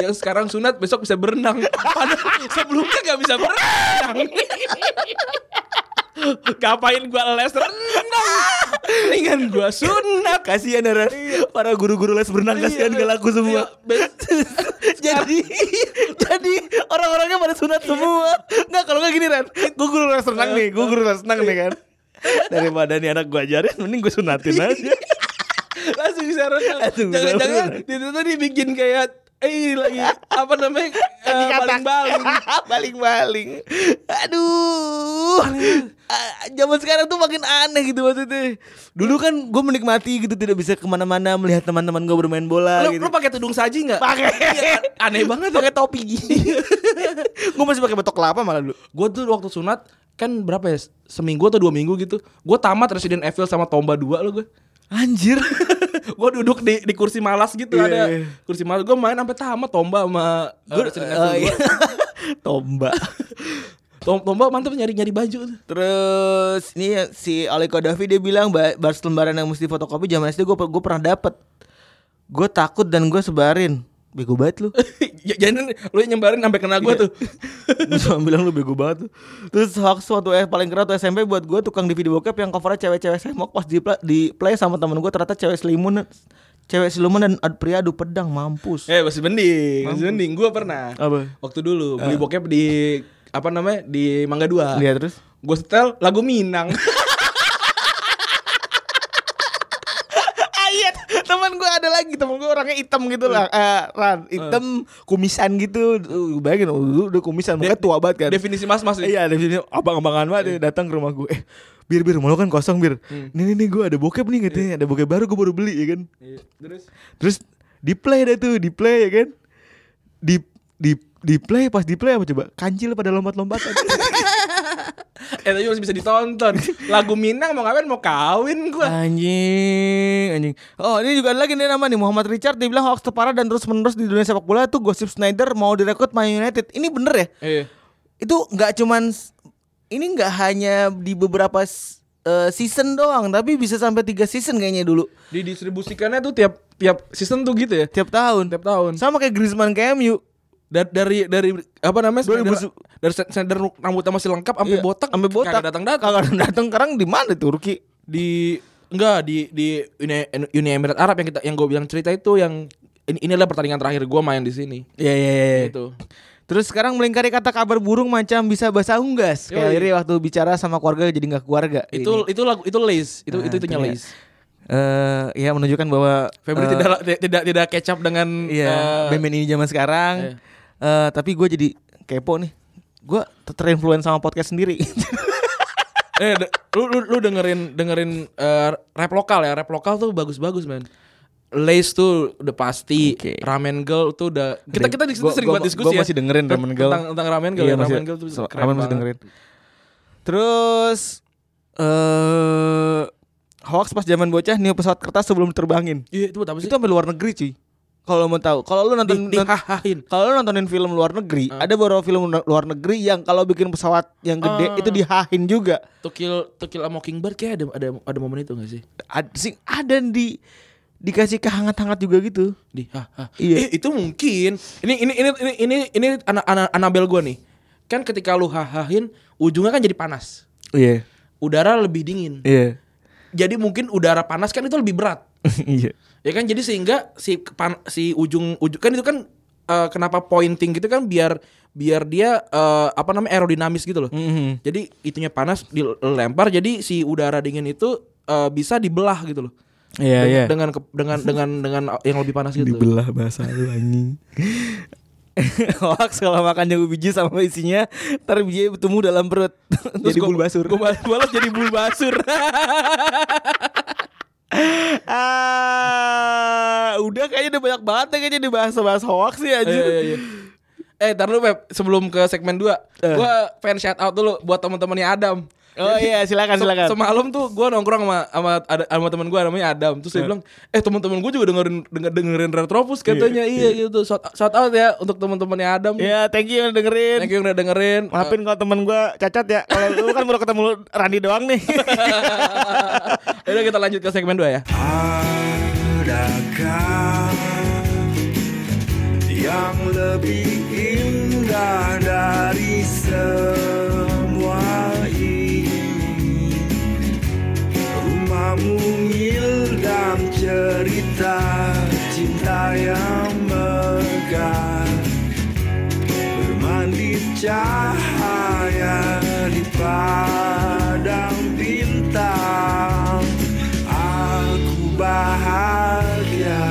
Speaker 3: yang sekarang sunat besok bisa berenang padahal sebelumnya nggak bisa berenang ngapain gue les renang mendingan gue sunat
Speaker 2: kasihan Ran. Para guru-guru les berenang kasihan
Speaker 3: Iya,
Speaker 2: gak laku semua.
Speaker 3: iya, bes-
Speaker 2: jadi jadi orang-orangnya pada sunat semua. Nggak kalau nggak gini Ran, gue guru les renang nih, gue guru les renang nih kan. Iya. Iya. Daripada nih anak gue ajarin, mending gue sunatin aja.
Speaker 3: langsung bisa renang.
Speaker 2: Langsung bisa
Speaker 3: Jangan-jangan
Speaker 2: renang.
Speaker 3: itu tadi bikin kayak eh lagi apa namanya eh, baling-baling.
Speaker 2: Baling-baling. Aduh. Ah, Zaman sekarang tuh makin aneh gitu maksudnya. Dulu kan gue menikmati gitu tidak bisa kemana-mana melihat teman-teman gue bermain bola
Speaker 3: Lu,
Speaker 2: gitu. kan?
Speaker 3: lu pakai tudung saji nggak?
Speaker 2: Pakai.
Speaker 3: Iya, aneh banget ya.
Speaker 2: pakai topi gini. gue masih pakai betok kelapa malah dulu.
Speaker 3: Gue tuh waktu sunat kan berapa ya seminggu atau dua minggu gitu gue tamat Resident Evil sama Tomba 2 lo gue
Speaker 2: Anjir.
Speaker 3: gue duduk di, di kursi malas gitu
Speaker 2: Iya,
Speaker 3: ada
Speaker 2: iya.
Speaker 3: kursi malas gue main sampai tamat tomba sama gue
Speaker 2: Eh, iya. Tombak.
Speaker 3: tomba mantep nyari nyari baju tuh.
Speaker 2: Terus ini ya, si Aliko Davi dia bilang "Ba- bar lembaran yang mesti fotokopi zaman SD gue gue pernah dapet. Gue takut dan gue sebarin. Bego banget lu.
Speaker 3: J- Jangan lu nyembarin sampai kena gue tuh.
Speaker 2: Gue cuma bilang lu bego banget tuh. Terus hoax waktu eh, paling keren tuh SMP buat gue tukang di video bokep yang covernya cewek-cewek semok pas di, di play sama temen gue ternyata cewek selimun cewek siluman dan ad- pria adu pedang mampus.
Speaker 3: eh masih mending, masih mending. Gue pernah.
Speaker 2: Apa?
Speaker 3: Waktu dulu beli bokep di apa namanya di Mangga Dua.
Speaker 2: Lihat terus.
Speaker 3: Gue setel lagu Minang.
Speaker 2: Ayat teman gue ada lagi teman gue orangnya hitam gitu lah eh, ran hitam kumisan gitu Uh, bayangin uh, lu udah kumisan mukanya tua banget kan
Speaker 3: Definisi mas mas.
Speaker 2: iya ada sini abang-abangan banget dia datang ke rumah gue eh bir bir malu kan kosong bir nih nih nih gue ada bokep nih katanya ada bokep baru gue baru beli ya kan
Speaker 3: Terus
Speaker 2: terus di play dah tuh di play ya kan di di di play pas di play apa coba kancil pada lompat-lompatan
Speaker 3: eh tapi masih bisa ditonton. Lagu Minang mau ngapain mau kawin gue.
Speaker 2: Anjing, anjing. Oh, ini juga ada lagi nih nama nih Muhammad Richard dia bilang hoax terparah dan terus-menerus di dunia sepak bola tuh gosip Snyder mau direkrut Man United. Ini bener ya?
Speaker 3: Eh.
Speaker 2: Itu nggak cuman ini nggak hanya di beberapa s- eh, season doang, tapi bisa sampai tiga season kayaknya dulu
Speaker 3: Didistribusikannya tuh tiap tiap season tuh gitu ya.
Speaker 2: tiap tahun.
Speaker 3: Tiap tahun.
Speaker 2: Sama kayak Griezmann ke MU.
Speaker 3: Da- dari dari apa namanya?
Speaker 2: Dari
Speaker 3: Dari,
Speaker 2: bersu-
Speaker 3: dari sender rambutnya masih lengkap sampai
Speaker 2: Iya,
Speaker 3: botak,
Speaker 2: sampai botak.
Speaker 3: kagak datang-datang.
Speaker 2: Kagak datang sekarang di mana Turki?
Speaker 3: di enggak di di Uni, Uni Emirat Arab yang kita yang gue bilang cerita itu yang ini, ini adalah pertandingan terakhir gue main di sini Gitu.
Speaker 2: Ya ya ya. ya.
Speaker 3: itu
Speaker 2: Terus sekarang melingkari kata kabar burung macam bisa bahasa unggas. Kayak
Speaker 3: Yoi.
Speaker 2: Riri waktu bicara sama keluarga jadi nggak keluarga.
Speaker 3: itu itu lagu itu lace itu itu itu
Speaker 2: ternyata.
Speaker 3: lace
Speaker 2: eh ya menunjukkan bahwa eh,
Speaker 3: Febri tidak tidak tidak tidak kecap dengan
Speaker 2: iya
Speaker 3: eh, iya.
Speaker 2: band-band ini zaman sekarang. Eh, tapi gue jadi kepo nih. Gue ter- terinfluence sama podcast sendiri.
Speaker 3: eh de- lu, lu lu dengerin dengerin eh, rap lokal ya rap lokal tuh bagus-bagus man Lace tuh udah pasti,
Speaker 2: Oke.
Speaker 3: Ramen Girl tuh udah kita kita di situ
Speaker 2: Gua-
Speaker 3: sering
Speaker 2: gua-
Speaker 3: buat diskusi
Speaker 2: gua
Speaker 3: ya.
Speaker 2: masih dengerin Ramen Girl.
Speaker 3: tentang tentang Ramen Girl,
Speaker 2: Iya,
Speaker 3: ya.
Speaker 2: masih-
Speaker 3: Ramen Girl tuh
Speaker 2: so-
Speaker 3: keren
Speaker 2: Ramen masih
Speaker 3: banget.
Speaker 2: dengerin. Terus eh hoax pas zaman bocah nih pesawat kertas sebelum terbangin.
Speaker 3: Iya itu buat apa sih?
Speaker 2: Itu sampai luar negeri cuy. Kalau mau tahu, kalau lu
Speaker 3: di,
Speaker 2: nonton
Speaker 3: di,
Speaker 2: nont- kalau lu nontonin film luar negeri, ada beberapa film lu- luar negeri yang kalau bikin pesawat yang gede
Speaker 3: Ah.
Speaker 2: itu dihahin juga.
Speaker 3: To Kill To Kill a Mockingbird kayak ada ada ada momen itu gak sih?
Speaker 2: Ad, sing, ada yang di dikasih kehangat-hangat juga gitu.
Speaker 3: Di ha, ha.
Speaker 2: Iya.
Speaker 3: Eh, itu mungkin. Ini ini ini ini ini, ini anak anak Anabel gua nih. Kan ketika lu hahahin ujungnya kan jadi panas.
Speaker 2: Iya.
Speaker 3: Udara lebih dingin.
Speaker 2: Iya.
Speaker 3: Jadi mungkin udara panas kan itu lebih berat.
Speaker 2: Iya.
Speaker 3: Ya kan jadi sehingga si kepan- si ujung ujung kan itu kan eh, kenapa pointing gitu kan biar biar dia eh, apa namanya aerodinamis gitu loh.
Speaker 2: Hmm. Mhm.
Speaker 3: Jadi itunya panas dilempar jadi si udara dingin itu eh, bisa dibelah gitu loh.
Speaker 2: Iya,
Speaker 3: Den-
Speaker 2: iya.
Speaker 3: dengan ke- dengan dengan dengan yang lebih panas gitu.
Speaker 2: Dibelah bahasa lu anjing. Hoax kalau makan jagung biji sama isinya ntar bijinya bertemu dalam perut jadi
Speaker 3: gua-
Speaker 2: bulbasur.
Speaker 3: gua bal- balas jadi bulbasur.
Speaker 2: Ah, udah kayaknya udah banyak banget ya kayaknya dibahas-bahas hoax sih
Speaker 3: Iya,
Speaker 2: anjir.
Speaker 3: iya, iya. Eh, ntar lu Beb, sebelum ke segmen 2, gua pengen shout out dulu buat teman-temannya Adam.
Speaker 2: Oh iya, silakan
Speaker 3: Se-
Speaker 2: silakan.
Speaker 3: Semalam tuh gua nongkrong sama sama ada- sama teman gua namanya Adam. Terus dia bilang, "Eh, teman-teman gua juga dengerin denger, dengerin Retropus katanya." Iya, gitu. Shout, shout out ya untuk teman-temannya Adam.
Speaker 2: Ya, thank you yang dengerin.
Speaker 3: Thank you yang udah dengerin.
Speaker 2: Maafin kalau temen gue cacat ya. Kalau lu kan baru ketemu Rani doang nih.
Speaker 3: Yaudah kita lanjut ke segmen 2 ya.
Speaker 1: Adakah yang lebih indah dari semua ini? Rumahmu dan cerita cinta yang megah Bermandi cahaya di padang bintang Aku bahagia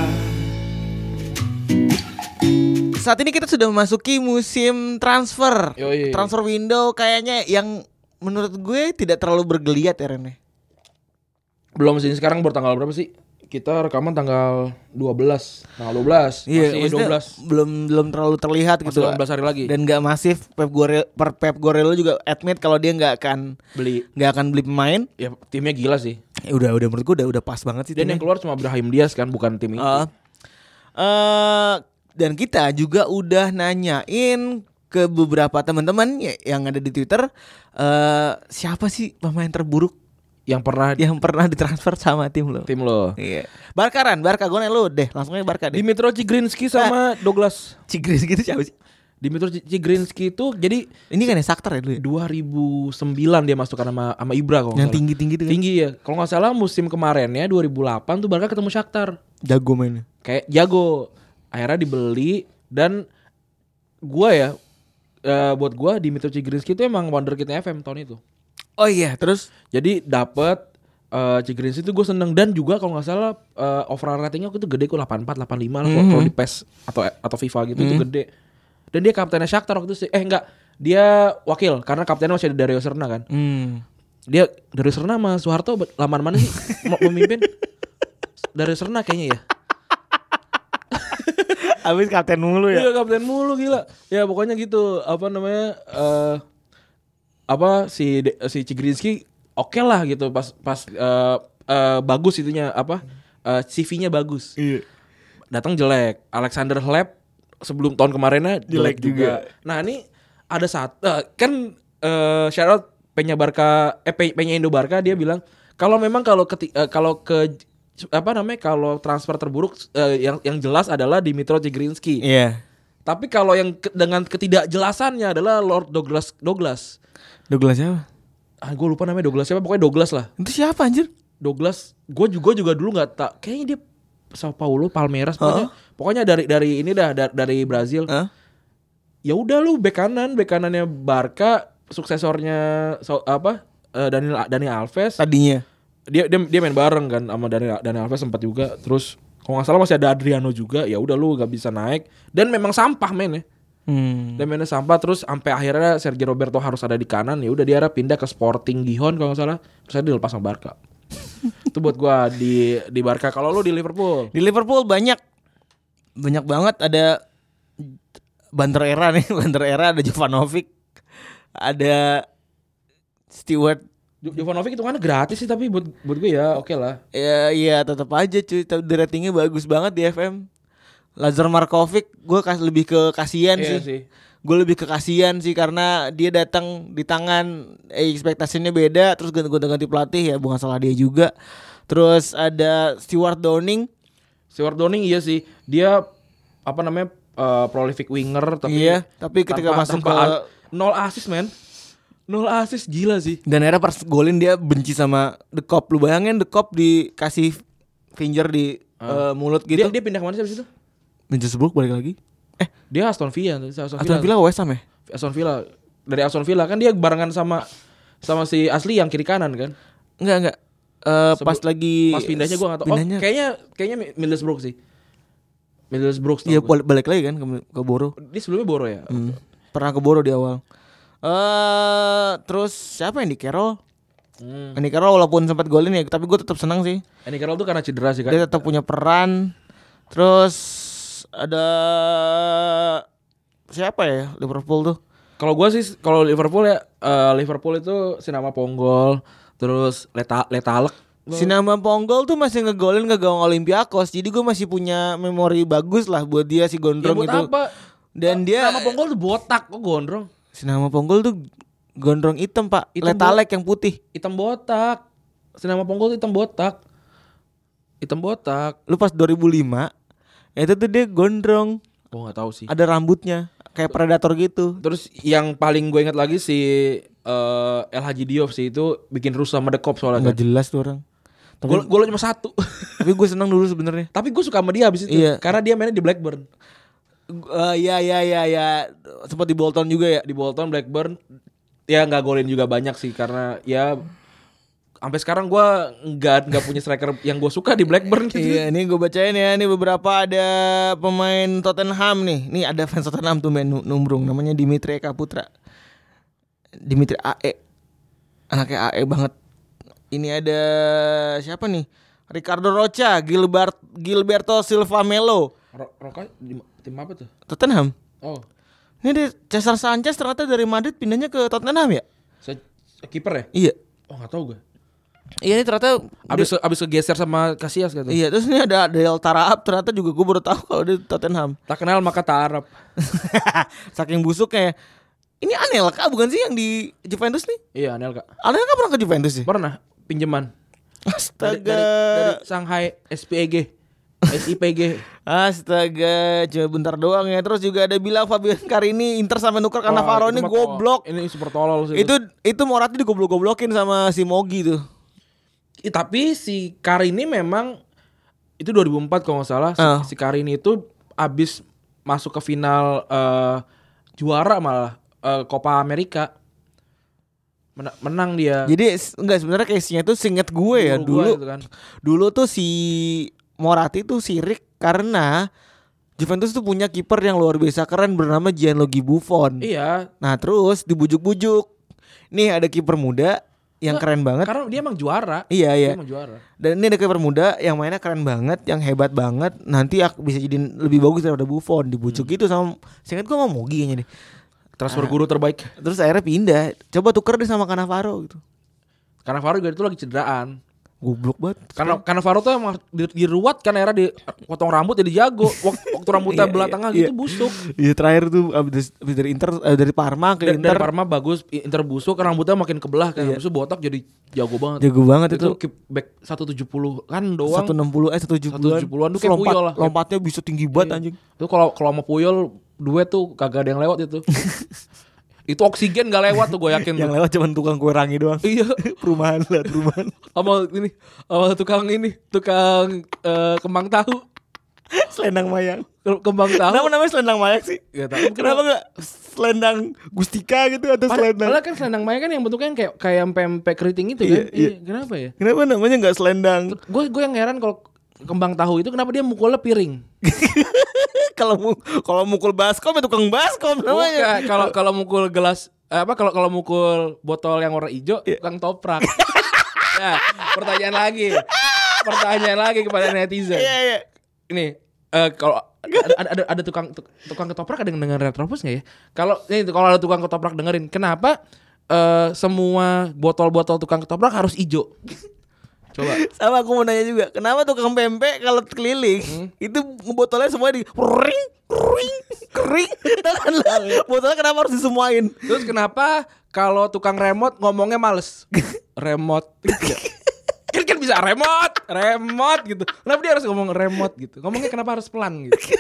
Speaker 2: Saat ini kita sudah memasuki musim transfer.
Speaker 3: Yoi.
Speaker 2: Transfer window kayaknya yang menurut gue tidak terlalu bergeliat ya Ren. ya.
Speaker 3: Belum sih sekarang baru tanggal berapa sih? Kita rekaman tanggal 12. Tanggal 12. Masih
Speaker 2: Iya, maksudnya
Speaker 3: 12.
Speaker 2: belum belum terlalu terlihat gitu.
Speaker 3: Masih 12 hari lagi.
Speaker 2: Dan nggak masif. Pep Guardiola, Pep Guardiola juga admit kalau dia nggak akan
Speaker 3: Beli
Speaker 2: nggak akan beli pemain.
Speaker 3: ya timnya gila sih.
Speaker 2: Ya udah udah menurut gua udah udah pas banget sih
Speaker 3: Dan
Speaker 2: timnya.
Speaker 3: yang keluar cuma Brahim Diaz kan bukan tim itu.
Speaker 2: Eh, eh, dan kita juga udah nanyain ke beberapa teman-teman ya- yang ada di Twitter eh siapa sih pemain terburuk
Speaker 3: yang pernah
Speaker 2: yang pernah ditransfer sama tim lo?
Speaker 3: tim lo.
Speaker 2: Iya. Barkaran, Barka gue eh, lu deh, langsung aja Barka deh.
Speaker 3: Dimitro Cigrinski sama Douglas.
Speaker 2: Cigris gitu siapa sih?
Speaker 3: Dimitro C- Cigrinski itu jadi
Speaker 2: Ini kan ya Saktar ya dulu ya?
Speaker 3: 2009 dia masukkan sama sama Ibra kok.
Speaker 2: Yang tinggi-tinggi itu kan?
Speaker 3: Tinggi ya. Kalau nggak salah musim kemarinnya 2008 tuh Barca ketemu Shakhtar.
Speaker 2: Jago mainnya.
Speaker 3: Kayak jago. Akhirnya dibeli dan gua ya eh, buat gua Dimitro Cigrinski itu emang wonderkid FM tahun itu.
Speaker 2: Oh iya, terus
Speaker 3: Jadi dapat eh Cigrinski itu gue seneng dan juga kalau nggak salah eh, overall ratingnya waktu itu gede kok 84 85 lah kalau- kalau di PES atau atau FIFA gitu itu gede. Dan dia kaptennya Shakhtar waktu itu sih. Eh enggak, dia wakil karena kaptennya masih ada Dario Serna kan.
Speaker 2: hmm.
Speaker 3: Dia Dario Serna sama Soeharto be- laman mana sih mau memimpin? Dario Serna kayaknya ya.
Speaker 2: Abis kapten mulu ya.
Speaker 3: Iya kapten mulu gila. Ya pokoknya gitu apa namanya eh apa si De- si Cigrinski oke lah gitu pas pas eh, eh, bagus itunya apa eh, CV-nya bagus.
Speaker 2: Iya.
Speaker 3: Datang jelek. Alexander Hleb sebelum tahun kemarinnya
Speaker 2: Jelek
Speaker 3: jelek, juga. Nah, ini ada saat eh, kan eh shout out Peña Barca eh Pe- Peña Indo Barca dia bilang kalau memang kalau keti- eh, kalau ke apa namanya kalau transfer terburuk eh, yang yang jelas adalah Dimitro Cigrinski.
Speaker 2: Iya.
Speaker 3: Tapi kalau yang ke- dengan ketidakjelasannya adalah Lord Douglas Douglas.
Speaker 2: Douglas siapa?
Speaker 3: Ah, gue lupa namanya Douglas siapa, pokoknya Douglas lah.
Speaker 2: Itu siapa anjir?
Speaker 3: Douglas, gue juga juga dulu nggak tak, kayaknya dia Sao Paulo, Palmeiras, pokoknya, pokoknya dari dari ini dah dar- dari Brazil.
Speaker 2: Hah?
Speaker 3: Ya udah lu bek kanan, bek kanannya Barca, suksesornya so- apa eh, Daniel Daniel Alves.
Speaker 2: Tadinya.
Speaker 3: Dia, dia dia main bareng kan sama Daniel Daniel Alves sempat juga. Terus kalau nggak salah masih ada Adriano juga. Ya udah lu nggak bisa naik dan memang sampah men ya.
Speaker 2: Hmm.
Speaker 3: Dia mainnya sampah terus sampai akhirnya Sergio Roberto harus ada di kanan ya udah dia akhirnya pindah ke Sporting Gihon kalau nggak salah terus dia dilepas sama Barca. itu buat gua di di Barca kalau lu di Liverpool.
Speaker 2: Di Liverpool banyak banyak banget ada Banter era nih, Banter era ada Jovanovic, ada Stewart.
Speaker 3: Jo- Jovanovic itu kan gratis sih tapi buat buat gua ya oke lah.
Speaker 2: Ya iya tetap aja cuy, tapi di ratingnya bagus banget di FM. Lazar Markovic, gue kas lebih ke kasihan
Speaker 3: Iya
Speaker 2: sih. Gue lebih ke kasihan sih karena dia datang di tangan eh, ekspektasinya beda, terus ganti-ganti pelatih ya bukan salah dia juga. Terus ada Stewart Downing,
Speaker 3: Stewart Downing iya sih. Dia apa namanya eh, prolific winger tapi
Speaker 2: Iya, tapi ketika masuk
Speaker 3: tanpa
Speaker 2: ke-
Speaker 3: a- nol assist men. Nol assist gila sih.
Speaker 2: Dan akhirnya pas golin dia benci sama The Cop Lu bayangin The Cop dikasih finger di eh, mulut
Speaker 3: Ah. Dia
Speaker 2: gitu
Speaker 3: dia pindah ke mana sih abis itu?
Speaker 2: Middlesbrough balik lagi Eh
Speaker 3: Dia Aston Villa, Aston
Speaker 2: Aston Villa West Ham ya?
Speaker 3: Aston Villa dari Aston Villa kan dia barengan sama sama si asli yang kiri kanan kan
Speaker 2: Enggak enggak Eh,
Speaker 3: Sebelum-
Speaker 2: Pas lagi
Speaker 3: pas Iya, pindahnya gua nggak tahu
Speaker 2: Pindahnya
Speaker 3: oh kayaknya kayaknya Mi- Middlesbrough sih Middlesbrough
Speaker 2: Iya
Speaker 3: ya,
Speaker 2: balik, balik lagi kan ke, ke Boro
Speaker 3: dia sebelumnya Boro ya
Speaker 2: Hmm. Pernah ke Boro di awal eh Terus siapa yang di Carroll?
Speaker 3: hmm.
Speaker 2: Andy Carroll walaupun sempat golin ya Tapi gue tetap senang sih
Speaker 3: Andy Carroll tuh karena cedera sih kan
Speaker 2: Dia tetap punya peran Terus ada siapa ya Liverpool tuh
Speaker 3: kalau gua sih kalau Liverpool ya eh, Liverpool itu Sinama Ponggol terus Leta Letalek
Speaker 2: Sinama Ponggol tuh masih ngegolin ke gawang Olympiakos Jadi gue masih punya memori bagus lah buat dia si
Speaker 3: ya
Speaker 2: Gondrong gitu.
Speaker 3: buat
Speaker 2: itu
Speaker 3: apa
Speaker 2: Dan dia
Speaker 3: Sinama Ponggol tuh botak kok gondrong
Speaker 2: Sinama Ponggol tuh Gondrong hitam pak
Speaker 3: Hitam
Speaker 2: Letalek yang putih
Speaker 3: hitam botak Sinama Ponggol tuh hitam botak hitam botak
Speaker 2: Lu pas 2005 ya Itu tuh dia gondrong
Speaker 3: gua nggak tahu sih
Speaker 2: Ada rambutnya Kayak predator gitu
Speaker 3: Terus yang paling gue ingat lagi si eh, El Haji Diop sih itu bikin rusuh sama The Cop
Speaker 2: Gak
Speaker 3: soalnya kan.
Speaker 2: jelas tuh orang Tapi,
Speaker 3: Gol golnya cuma satu.
Speaker 2: tapi gue senang dulu sebenarnya
Speaker 3: Tapi gue suka sama dia abis itu
Speaker 2: Iya.
Speaker 3: karena dia mainnya di Blackburn.
Speaker 2: Eh, Ya ya ya ya Sempat di Bolton juga ya
Speaker 3: Di Bolton Blackburn ya nggak golin juga banyak sih karena ya sampai sekarang gue nggak nggak punya striker yang gue suka di Blackburn gitu.
Speaker 2: Iya, ini gue bacain ya. Ini beberapa ada pemain Tottenham nih. Nih ada fans Tottenham tuh main nu- numbrung. Namanya Dimitri Eka Putra. Dimitri AE. Anaknya AE banget. Ini ada siapa nih? Ricardo Rocha, Gilbert, Gilberto Silva Melo,
Speaker 3: Ro- Roka di ma- tim apa tuh?
Speaker 2: Tottenham.
Speaker 3: Oh,
Speaker 2: Ini ada Cesar Sanchez ternyata dari Madrid pindahnya ke Tottenham ya?
Speaker 3: se- kiper ya?
Speaker 2: Iya.
Speaker 3: Oh nggak tahu gue.
Speaker 2: Iya ini ternyata
Speaker 3: Abis abis kegeser sama Casillas gitu.
Speaker 2: Iya terus ini ada Del Tarap ternyata juga gue baru tahu kalau dia Tottenham
Speaker 3: Tak kenal maka tak Arab.
Speaker 2: saking busuknya ya. ini Anelka bukan sih yang di Juventus nih
Speaker 3: Iya, Anelka.
Speaker 2: Anelka pernah ke Juventus sih
Speaker 3: Pernah pinjaman dari,
Speaker 2: astaga
Speaker 3: dari, dari Shanghai SPG. SIPG.
Speaker 2: astaga cuma bentar doang ya terus juga ada bilang Fabian Carini Inter sampai nuker karena
Speaker 3: Wah,
Speaker 2: Navarro
Speaker 3: itu
Speaker 2: ini
Speaker 3: mah tol-
Speaker 2: goblok
Speaker 3: Ini super tolol sih.
Speaker 2: itu itu Morata digoblok-goblokin sama si Mogi tuh
Speaker 3: Ih, tapi si Karini memang itu 2004 kalau nggak salah si-
Speaker 2: Ah.
Speaker 3: si Karini itu abis masuk ke final eh, juara malah eh, Copa America Mena- menang dia
Speaker 2: jadi s- enggak sebenarnya case-nya tuh singet gue ya
Speaker 3: Uruguay
Speaker 2: dulu
Speaker 3: itu kan.
Speaker 2: dulu tuh si Morati tuh sirik karena Juventus tuh punya kiper yang luar biasa keren bernama Gianluigi Buffon.
Speaker 3: iya
Speaker 2: Nah, terus dibujuk-bujuk. Nih ada kiper muda yang
Speaker 3: Nggak,
Speaker 2: keren banget.
Speaker 3: karena dia emang juara
Speaker 2: Iya, iya.
Speaker 3: dia emang juara
Speaker 2: Dan ini ada kiper muda yang mainnya keren banget, yang hebat banget. Nanti ak- bisa jadi lebih bagus daripada Buffon. Dibujuk gitu sama singkat gua mau Mogi kayaknya deh.
Speaker 3: transfer guru terbaik
Speaker 2: Terus akhirnya pindah. Coba tuker deh sama Cannavaro gitu.
Speaker 3: karena Faro juga itu lagi cederaan
Speaker 2: Goblok banget.
Speaker 3: karena karena Faro tuh emang di- diruat kan era di potong rambut jadi jago waktu, waktu rambutnya
Speaker 2: Iya,
Speaker 3: belah
Speaker 2: iya,
Speaker 3: tengah
Speaker 2: iya.
Speaker 3: gitu busuk
Speaker 2: Iya terakhir tuh abis, abis dari Inter eh, dari Parma ke
Speaker 3: dari,
Speaker 2: Inter. Iya.
Speaker 3: dari Parma bagus Inter busuk rambutnya makin kebelah kan busuk botak jadi jago banget
Speaker 2: Jago banget itu.
Speaker 3: itu keep back 170 kan doang
Speaker 2: 160 eh 170-an.
Speaker 3: 170-an tuh kayak
Speaker 2: Lompat-
Speaker 3: Puyol lah. Iya.
Speaker 2: Lompatnya bisa tinggi banget anjing.
Speaker 3: itu kalau kalau mau Puyol duet tuh kagak ada yang lewat itu itu oksigen gak lewat tuh gue yakin
Speaker 2: Yang
Speaker 3: tuh.
Speaker 2: lewat cuman tukang kue rangi doang.
Speaker 3: iya
Speaker 2: perumahan lah, perumahan.
Speaker 3: sama ini sama tukang ini tukang eh, kembang tahu
Speaker 2: selendang mayang.
Speaker 3: kembang tahu
Speaker 2: Kenapa namanya selendang mayang sih?
Speaker 3: Gak tau.
Speaker 2: Kenapa enggak selendang Gustika gitu atau selendang?
Speaker 3: Padahal kan selendang maya kan yang bentuknya yang kayak kayak pempek keriting itu
Speaker 2: Iya,
Speaker 3: kan.
Speaker 2: iya.
Speaker 3: kenapa ya?
Speaker 2: Kenapa namanya enggak selendang?
Speaker 3: Gue gue yang heran kalau kembang tahu itu kenapa dia mukulnya piring?
Speaker 2: kalau mu- kalau mukul baskom ya tukang baskom
Speaker 3: Bukan,
Speaker 2: namanya.
Speaker 3: kalau kalau mukul gelas eh, apa kalau kalau mukul botol yang warna hijau
Speaker 2: Iya.
Speaker 3: tukang toprak. nah, pertanyaan lagi. Pertanyaan lagi kepada netizen.
Speaker 2: Iya, iya.
Speaker 3: Ini eh, kalau ada, ada, ada tukang tuk- tukang ketoprak ada yang dengerin Retropus nggak ya? Kalau ini kalau ada tukang ketoprak dengerin, kenapa eh, semua botol-botol tukang ketoprak harus hijau? Coba.
Speaker 2: Sama aku mau nanya juga, kenapa tukang pempek kalau keliling
Speaker 3: Hmm?
Speaker 2: itu botolnya semua di ring ring kering. Tahu kan lah, botolnya kenapa harus disemuain?
Speaker 3: Terus kenapa kalau tukang remote ngomongnya males? remote. Gitu. kan kan bisa remote, remote gitu. Kenapa dia harus ngomong remote gitu? Ngomongnya kenapa harus pelan gitu?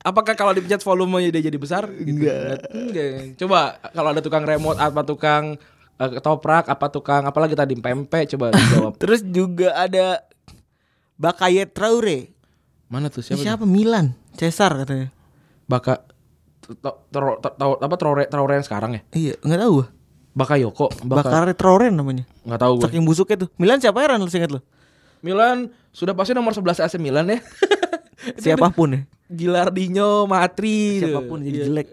Speaker 3: Apakah kalau dipencet volumenya dia jadi besar? Gitu.
Speaker 2: Enggak.
Speaker 3: Enggak. Coba kalau ada tukang remote apa tukang eh, ketoprak apa tukang apalagi tadi pempek coba dijawab.
Speaker 2: Terus juga ada Bakaye Traore.
Speaker 3: Mana tuh
Speaker 2: Siapa,
Speaker 3: siapa? tuh?
Speaker 2: Milan, Cesar katanya.
Speaker 3: Baka to- tro- to- to- apa Traore Traore yang sekarang ya?
Speaker 2: Iya, enggak tahu.
Speaker 3: Bakayoko, Baka
Speaker 2: Bakare Traore namanya.
Speaker 3: nggak tahu gue.
Speaker 2: Saking busuknya tuh. Milan siapa heran lu ingat lu?
Speaker 3: Milan sudah pasti nomor 11 AC Milan ya.
Speaker 2: Siapapun ya.
Speaker 3: Gilardino, Matri,
Speaker 2: Siapapun jadi
Speaker 3: Iya.
Speaker 2: jelek.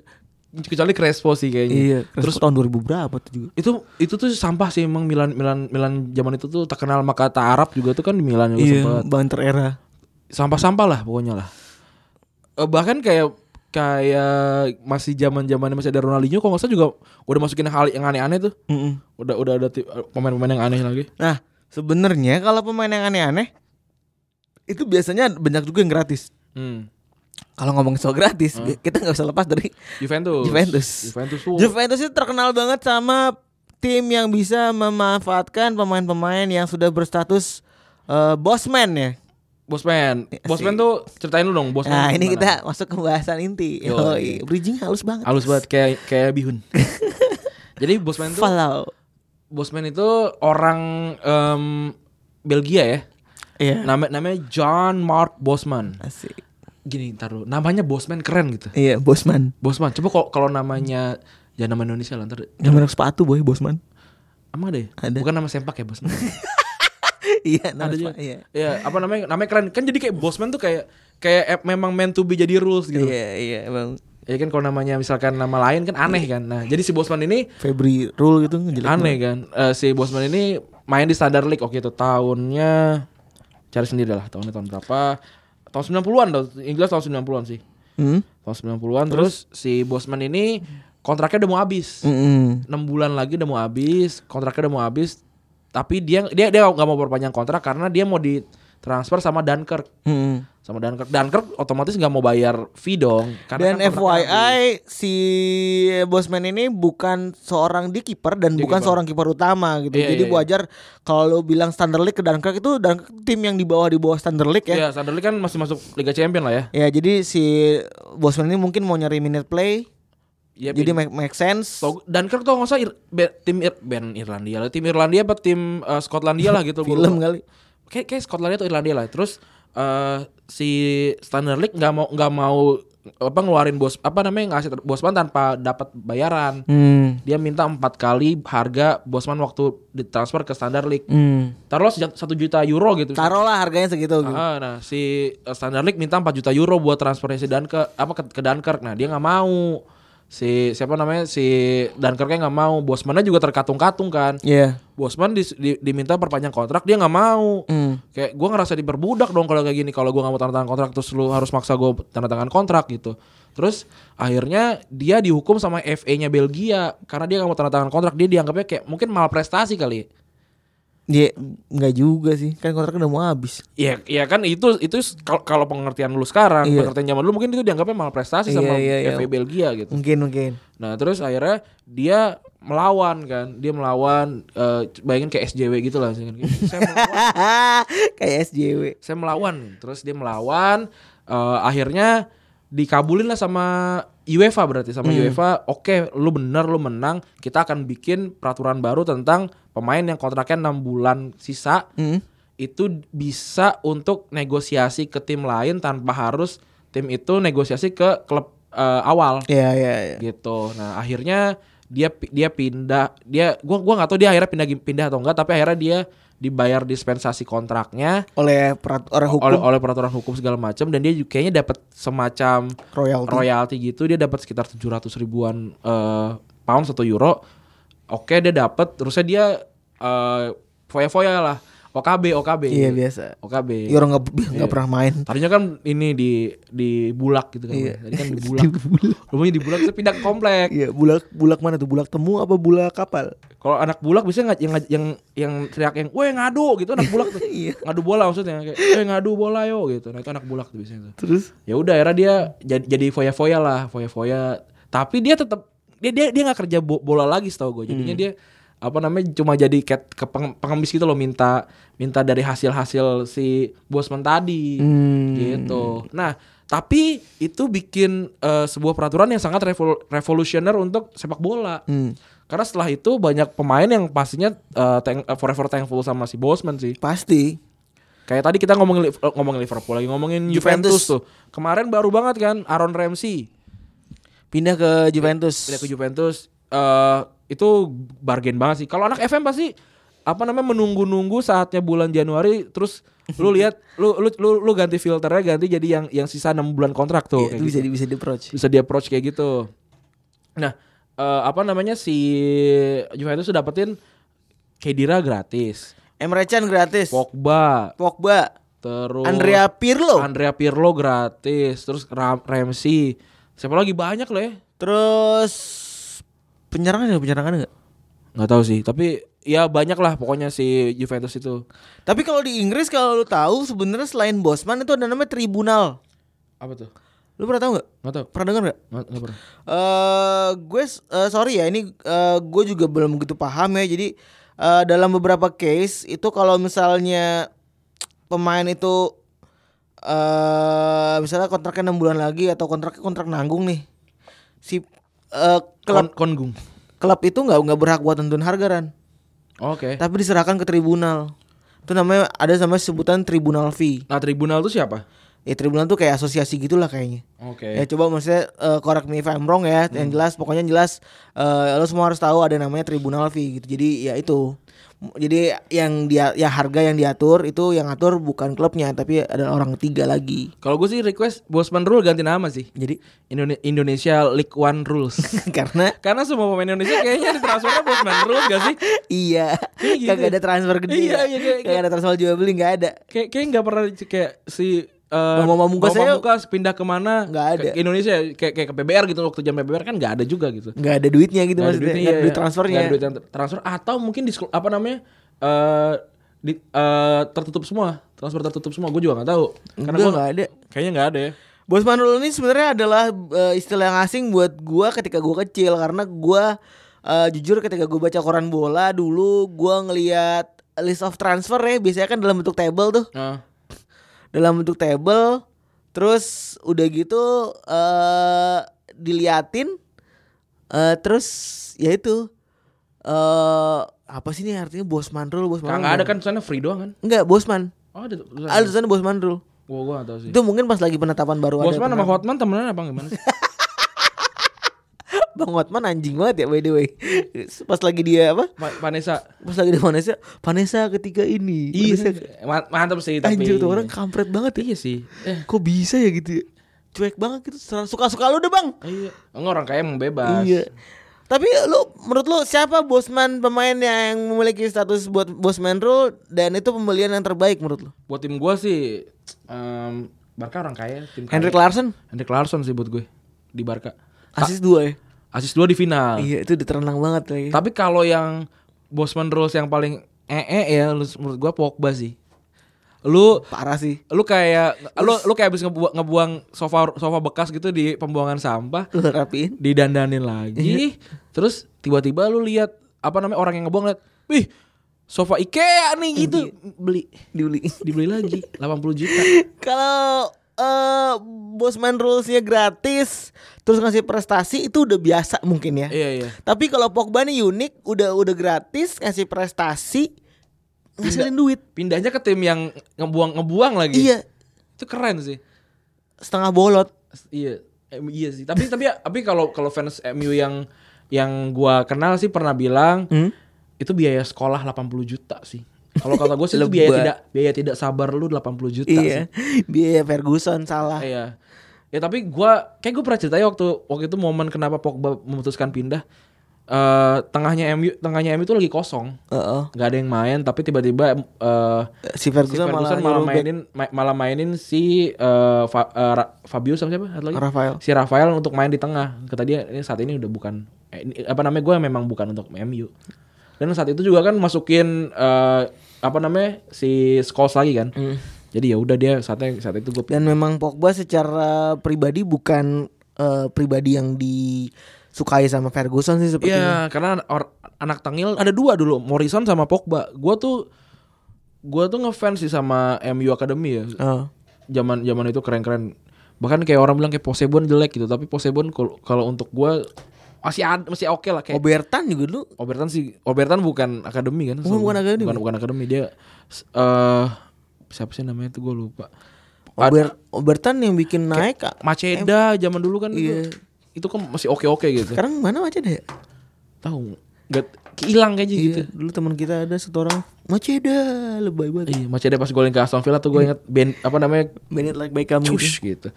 Speaker 2: Iya.
Speaker 3: Kecuali Crespo sih kayaknya.
Speaker 2: Terus
Speaker 3: Terus
Speaker 2: tahun 2000 berapa tuh juga?
Speaker 3: itu itu tuh sampah sih emang Milan Milan Milan zaman itu tuh terkenal maka tak Arab juga tuh kan di Milan juga
Speaker 2: Iya,
Speaker 3: sempat.
Speaker 2: banter era.
Speaker 3: Sampah-sampah lah pokoknya lah. Eh, bahkan kayak kayak masih zaman-zaman masih ada Ronaldinho kok nggak salah juga udah masukin hal yang aneh-aneh tuh.
Speaker 2: Mm-mm.
Speaker 3: Udah udah ada ti- pemain-pemain yang aneh lagi.
Speaker 2: Nah, sebenarnya kalau pemain yang aneh-aneh itu biasanya banyak juga yang gratis.
Speaker 3: Hmm.
Speaker 2: Kalau ngomong soal gratis, kita nggak bisa lepas dari
Speaker 3: Juventus.
Speaker 2: Juventus.
Speaker 3: Juventus tuh.
Speaker 2: Juventus itu terkenal banget sama tim yang bisa memanfaatkan pemain-pemain yang sudah berstatus eh, bosman ya.
Speaker 3: Bosman. Bosman tuh ceritain lu dong Bosman.
Speaker 2: Iya, Nah, ini
Speaker 3: gimana?
Speaker 2: kita masuk ke bahasan inti.
Speaker 3: Yoi.
Speaker 2: Yoi. Bridging halus banget.
Speaker 3: halus banget kayak kayak bihun. Jadi Bosman tuh
Speaker 2: Follow.
Speaker 3: Bosman itu orang em, Belgia ya.
Speaker 2: Iya.
Speaker 3: Nama namanya John Mark Bosman.
Speaker 2: Asik.
Speaker 3: Gini ntar lu, namanya Bosman keren gitu.
Speaker 2: Iya, bosman.
Speaker 3: Bosman, coba kalau kalau namanya jangan nama Indonesia lah ntar
Speaker 2: Yang merek sepatu boy, bosman.
Speaker 3: emang ada ya?
Speaker 2: Ada.
Speaker 3: Bukan nama sempak ya Bosman.
Speaker 2: iya,
Speaker 3: ada juga.
Speaker 2: Iya.
Speaker 3: Iya, apa namanya? Namanya keren. Kan jadi kayak Bosman tuh kayak kayak eh, memang meant to be jadi rules gitu.
Speaker 2: Iya, iya, emang
Speaker 3: Ya kan kalau namanya misalkan nama lain kan aneh kan. Nah, jadi si Bosman ini
Speaker 2: Febri rule gitu ngejelek.
Speaker 3: aneh kan Eh, si Bosman ini main di standar league waktu itu tahunnya cari sendiri lah tahunnya tahun berapa tahun 90-an dong yang jelas tahun 90-an sih
Speaker 2: Hmm?
Speaker 3: tahun 90-an terus, si Bosman ini kontraknya udah mau habis
Speaker 2: Mm-mm.
Speaker 3: enam bulan lagi udah mau habis kontraknya udah mau habis tapi dia dia dia nggak mau perpanjang kontrak karena dia mau ditransfer sama Dunkirk
Speaker 2: Hmm.
Speaker 3: sama Dunkirk Dunkirk otomatis nggak mau bayar fee dong karena
Speaker 2: Dan
Speaker 3: kan kontraknya habis.
Speaker 2: FYI si Bosman ini bukan seorang di kiper dan
Speaker 3: Dia
Speaker 2: bukan
Speaker 3: kiper.
Speaker 2: seorang kiper utama gitu.
Speaker 3: Iya,
Speaker 2: Jadi
Speaker 3: iya, iya.
Speaker 2: wajar kalau lu bilang standar league ke Dunkirk itu Dunkirk tim yang di bawah di bawah standar league ya.
Speaker 3: ya Sunderland kan masih masuk Liga Champion lah ya
Speaker 2: Ya jadi si Bosman ini mungkin mau nyari minute play.
Speaker 3: Ya,
Speaker 2: jadi make, make sense.
Speaker 3: Tau- Dunkirk tuh nggak usah Ir- be- tim Ir- band Irlandia lah, tim Irlandia apa tim eh, Skotlandia lah gitu.
Speaker 2: Film kan?
Speaker 3: Gua lupa.
Speaker 2: kali.
Speaker 3: Kayak kayak Skotlandia atau Irlandia lah. Terus eh, si Standard League nggak mau nggak mau apa ngeluarin bos apa namanya ngasih bosman tanpa dapat bayaran.
Speaker 2: Hmm.
Speaker 3: Dia minta empat kali harga bosman waktu ditransfer ke Standard League.
Speaker 2: Hmm.
Speaker 3: Taruhlah sejak satu juta euro gitu.
Speaker 2: Taruh lah harganya segitu. gitu.
Speaker 3: Ah, nah si eh, Standard League minta 4 juta euro buat transfernya si Dan apa ke, ke Dunkirk. Nah, dia nggak mau. Si siapa namanya? Si Dunkirknya nggak mau. Bosmannya juga terkatung-katung kan.
Speaker 2: Iya.
Speaker 3: Bosman dis- di- diminta perpanjang kontrak, dia nggak mau.
Speaker 2: Hmm.
Speaker 3: Kayak gua ngerasa diperbudak dong kalau kayak gini. Kalau gua nggak mau tanda tangan kontrak terus lu harus maksa gua tanda tangan kontrak gitu. Terus akhirnya dia dihukum sama FA-nya Belgia karena dia nggak mau tanda tangan kontrak. Dia dianggapnya kayak mungkin malprestasi
Speaker 2: Dia
Speaker 3: kali.
Speaker 2: Iya, nggak juga sih. Kan kontrak udah mau habis.
Speaker 3: Iya, iya kan itu itu s- kal- kalau pengertian lu sekarang,
Speaker 2: Iya.
Speaker 3: pengertian zaman dulu mungkin itu dianggapnya malprestasi
Speaker 2: Iya,
Speaker 3: sama
Speaker 2: iya, iya.
Speaker 3: FA Belgia gitu.
Speaker 2: Mungkin mungkin.
Speaker 3: Nah, terus akhirnya dia melawan kan, dia melawan eh, bayangin kayak SJW gitu lah misalkan. saya melawan,
Speaker 2: Kayak SJW.
Speaker 3: saya melawan. Terus dia melawan eh, akhirnya dikabulin lah sama UEFA berarti sama
Speaker 2: Mm.
Speaker 3: UEFA, oke lu bener lu menang, kita akan bikin peraturan baru tentang pemain yang kontraknya 6 bulan sisa
Speaker 2: Hmm.
Speaker 3: itu bisa untuk negosiasi ke tim lain tanpa harus tim itu negosiasi ke klub eh, awal
Speaker 2: Iya iya iya.
Speaker 3: gitu. Nah, akhirnya dia pi- dia pindah dia gua gua nggak tahu dia akhirnya pindah pindah atau enggak tapi akhirnya dia dibayar dispensasi kontraknya
Speaker 2: oleh perat orang hukum
Speaker 3: oleh oleh peraturan hukum segala macam dan dia juga kayaknya dapat semacam
Speaker 2: royalty.
Speaker 3: royalti gitu dia dapat sekitar 700 ribuan eh, pound satu euro oke dia dapat terusnya dia eh, foya-foya lah OKB OKB
Speaker 2: Iya biasa.
Speaker 3: OKB
Speaker 2: Ya, orang nggak
Speaker 3: Iya.
Speaker 2: nggak pernah main.
Speaker 3: tadinya kan ini di di bulak gitu kan
Speaker 2: Iya.
Speaker 3: tadi kan di bulak rumahnya di bulak terus pindah ke komplek
Speaker 2: Iya, bulak bulak mana tuh? Bulak temu apa bulak kapal?
Speaker 3: kalau anak bulak biasanya nggak yang yang yang teriak yang weh ngadu gitu anak bulak tuh ngadu bola maksudnya kayak weh ngadu bola yo gitu nah itu anak bulak tuh biasanya tuh.
Speaker 2: Terus
Speaker 3: ya udah era dia jadi jadi foya foya lah foya foya tapi dia tetap dia dia dia nggak kerja bo- bola lagi setahu gue jadinya dia apa namanya cuma jadi kayak ke peng- pengemis gitu loh minta minta dari hasil hasil si bosman tadi gitu nah tapi itu bikin eh, sebuah peraturan yang sangat revol- revolusioner untuk sepak bola karena setelah itu banyak pemain yang pastinya eh, thank- eh, forever thankful sama si bosman sih
Speaker 2: pasti
Speaker 3: Kayak tadi kita ngomongin Liv- eh, ngomongin Liverpool lagi ngomongin
Speaker 2: Juventus.
Speaker 3: Juventus. tuh. Kemarin baru banget kan Aaron Ramsey
Speaker 2: pindah ke Juventus.
Speaker 3: pindah ke Juventus eh itu bargain banget sih. Kalau anak FM pasti apa namanya menunggu-nunggu saatnya bulan Januari terus lu lihat lu, lu lu lu ganti filternya ganti jadi yang yang sisa 6 bulan kontrak
Speaker 2: Iya,
Speaker 3: tuh. kayak
Speaker 2: itu bisa
Speaker 3: gitu.
Speaker 2: di bisa di approach.
Speaker 3: bisa di approach kayak gitu. Nah, eh apa namanya si Juventus tuh dapetin Kedira gratis,
Speaker 2: Emre Can gratis.
Speaker 3: Pogba,
Speaker 2: Pogba,
Speaker 3: terus
Speaker 2: Andrea Pirlo,
Speaker 3: Andrea Pirlo gratis, terus Ra- Ramsey. Siapa lagi banyak loh ya?
Speaker 2: terus penyerangan ada penyerangan enggak?
Speaker 3: Nggak tahu sih, tapi ya banyak lah pokoknya si Juventus itu.
Speaker 2: Tapi kalau di Inggris kalau lu tahu sebenarnya selain Bosman itu ada namanya tribunal.
Speaker 3: Apa tuh?
Speaker 2: Lu pernah tahu nggak?
Speaker 3: Nggak tahu.
Speaker 2: Pernah dengar nggak?
Speaker 3: Nggak, nggak pernah.
Speaker 2: eh gue s- eh, sorry ya ini eh, gue juga belum begitu paham ya jadi eh, dalam beberapa case itu kalau misalnya pemain itu eh misalnya kontraknya enam bulan lagi atau kontraknya kontrak nanggung nih si eh, klub
Speaker 3: Kon- Kongung.
Speaker 2: klub itu nggak nggak berhak buat tentuin harga Ran.
Speaker 3: Oke.
Speaker 2: tapi diserahkan ke tribunal itu namanya ada sama sebutan tribunal fee
Speaker 3: Nah, Tribunal itu siapa?
Speaker 2: ya tribunal tuh kayak asosiasi gitulah kayaknya Ya
Speaker 3: Oke. Hmm.
Speaker 2: coba maksudnya uh, correct me if I'm wrong ya. Yang jelas pokoknya yang jelas eh, lo semua harus tahu ada namanya tribunal fee gitu. Jadi ya itu. M- Jadi yang dia ya harga yang diatur itu yang atur bukan klubnya tapi ada orang ketiga lagi.
Speaker 3: Kalau gue sih request Bosman Rule ganti nama sih.
Speaker 2: Jadi
Speaker 3: Indone- Indonesia League One Rules.
Speaker 2: karena
Speaker 3: Karena semua pemain Indonesia kayaknya ditransfernya Bosman Rules gak sih?
Speaker 2: iya
Speaker 3: gitu.
Speaker 2: kagak ada transfer gede.
Speaker 3: Iya,
Speaker 2: Iya,
Speaker 3: iya, kayak-
Speaker 2: kagak ada transfer jual beli nggak ada.
Speaker 3: Kayak kayak nggak pernah di- kayak si eh
Speaker 2: Bambang Pamungkas saya-
Speaker 3: Pamungkas pindah kemana?
Speaker 2: Nggak ada.
Speaker 3: Ke ke Indonesia ya? kayak kayak ke PBR gitu waktu jam PBR kan nggak ada juga gitu.
Speaker 2: Nggak ada duitnya gitu
Speaker 3: Nggak ada
Speaker 2: maksudnya. Nggak
Speaker 3: duitnya,
Speaker 2: ada
Speaker 3: iya,
Speaker 2: duit
Speaker 3: iya.
Speaker 2: transfernya.
Speaker 3: Nggak ada duit yang ter- transfer atau mungkin di apa namanya eh di, eh, tertutup semua transfer tertutup semua gue juga nggak tahu karena
Speaker 2: Enggak,
Speaker 3: gue
Speaker 2: nggak ada.
Speaker 3: kayaknya nggak ada ya
Speaker 2: Bos Manul ini sebenarnya adalah eh, istilah yang asing buat gua ketika gua kecil karena gua eh, jujur ketika gua baca koran bola dulu gua ngelihat list of transfer ya biasanya kan dalam bentuk table tuh
Speaker 3: Nah,
Speaker 2: dalam bentuk table terus udah gitu eh diliatin eh terus ya itu eh apa sih ini artinya bos mandrul bos mandrul
Speaker 3: nggak ada kan tulisannya free doang kan
Speaker 2: enggak bosman
Speaker 3: oh ada tulisannya.
Speaker 2: ah tulisannya bos mandrul
Speaker 3: Gua gua nggak tahu sih
Speaker 2: itu mungkin pas lagi penetapan baru ada
Speaker 3: Bosman sama
Speaker 2: penetapan.
Speaker 3: Hotman temenan apa gimana sih?
Speaker 2: Bang Hotman anjing banget ya by the way pas lagi dia apa
Speaker 3: Ma- Vanessa
Speaker 2: pas lagi di Vanessa Vanessa ketika ini Vanessa,
Speaker 3: Iya, ma- mantap sih tapi.
Speaker 2: anjir tuh orang kampret banget ya
Speaker 3: Iya sih. Eh,
Speaker 2: kok bisa ya gitu ya? cuek banget gitu suka-suka lu deh bang
Speaker 3: iya. Enggak orang kaya emang bebas.
Speaker 2: Iya. Tapi lu menurut lu siapa bosman pemain yang memiliki status buat bosman rule dan itu pembelian yang terbaik menurut lu?
Speaker 3: Buat tim gua sih em Barca orang kaya, tim kaya.
Speaker 2: Henrik Larsson
Speaker 3: Henrik Larsson sih buat gue di Barca.
Speaker 2: asis dua ya.
Speaker 3: Asis dua di final.
Speaker 2: Iya itu diterenang banget lagi.
Speaker 3: Tapi kalau yang Bosman rules yang paling ee ya lu- menurut gua Pogba sih. Lu
Speaker 2: Parah sih.
Speaker 3: lu kayak lu lu kayak habis ngebuang, ngebuang sofa sofa bekas gitu di pembuangan sampah
Speaker 2: Lu rapiin.
Speaker 3: didandanin
Speaker 2: Iya.
Speaker 3: lagi terus tiba-tiba lu lihat apa namanya orang yang ngebuang lihat wih sofa IKEA
Speaker 2: Iya.
Speaker 3: nih gitu beli
Speaker 2: Dibeli.
Speaker 3: dibeli lagi 80 juta
Speaker 2: Kalau eh bosman rulesnya gratis terus ngasih prestasi itu udah biasa mungkin ya.
Speaker 3: iya iya
Speaker 2: Tapi kalau Pogba nih unik, udah udah gratis ngasih prestasi ngasilin duit.
Speaker 3: pindahnya ke tim yang ngebuang ngebuang lagi
Speaker 2: Iya,
Speaker 3: itu keren sih
Speaker 2: setengah bolot.
Speaker 3: S- iya Em, iya sih tapi tapi tapi kalau kalau fans MU yang yang gua kenal sih pernah bilang
Speaker 2: Hmm?
Speaker 3: itu biaya sekolah 80 juta sih kalau kata gue sih itu biaya
Speaker 2: Lebay.
Speaker 3: tidak biaya tidak sabar lu 80 juta sih
Speaker 2: Iya, biaya Ferguson salah.
Speaker 3: Iya. Ya tapi gua kayak gue pernah ceritain waktu waktu itu momen kenapa Pogba memutuskan pindah. Eh tengahnya MU tengahnya MU itu lagi kosong.
Speaker 2: Heeh.
Speaker 3: nggak ada yang main tapi tiba-tiba eh
Speaker 2: Si
Speaker 3: si
Speaker 2: Ferguson,
Speaker 3: Ferguson
Speaker 2: malah
Speaker 3: malah,
Speaker 2: nyuruh
Speaker 3: mainin ma- malah mainin si eh, Fa- eh, Ra- Fabio sama siapa? Satu lagi?
Speaker 2: back Rafael.
Speaker 3: Si Rafael untuk main di tengah. Kata dia ini saat ini udah bukan eh, ini, apa namanya gue memang bukan untuk MU. Dan saat itu juga kan masukin eh, apa namanya si Scholes lagi kan. Jadi ya udah dia saatnya saat itu gue
Speaker 2: Dan memang Pogba secara pribadi bukan eh, pribadi yang disukai sama Ferguson sih sepertinya.
Speaker 3: Iya, karena or- anak tangil ada dua dulu, Morrison sama Pogba. Gua tuh gua tuh ngefans sih sama MU Academy ya.
Speaker 2: Heeh.
Speaker 3: Zaman zaman itu keren-keren. Bahkan kayak orang bilang kayak Posebon jelek gitu, tapi Posebon kalau- kalau untuk gua masih ad- masih oke lah kayak
Speaker 2: Obertan juga dulu
Speaker 3: Obertan sih Obertan bukan akademi kan?
Speaker 2: Bukan- bukan akademi.
Speaker 3: Bukan, bukan akademi dia s- eh siapa sih namanya tuh gua lupa.
Speaker 2: Ober, Obertan yang bikin naik Kak.
Speaker 3: Maceda zaman dulu kan
Speaker 2: Iya.
Speaker 3: itu, itu kan masih oke-oke gitu.
Speaker 2: Sekarang mana Maceda ya?
Speaker 3: Tahu nggak hilang kayaknya gitu.
Speaker 2: Iya, dulu teman kita ada satu orang Maceda lebay banget.
Speaker 3: Iya, masih ada pas golin ke Aston Villa tuh
Speaker 2: Iya.
Speaker 3: gue inget band apa namanya?
Speaker 2: Bennett like Beckham gitu.
Speaker 3: Cush gitu.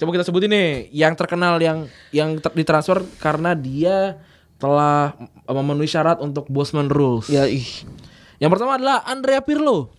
Speaker 3: Coba kita sebutin nih yang terkenal yang yang ter- ditransfer karena dia telah mem- memenuhi syarat untuk Bosman rules.
Speaker 2: Ya ih.
Speaker 3: Yang pertama adalah Andrea Pirlo.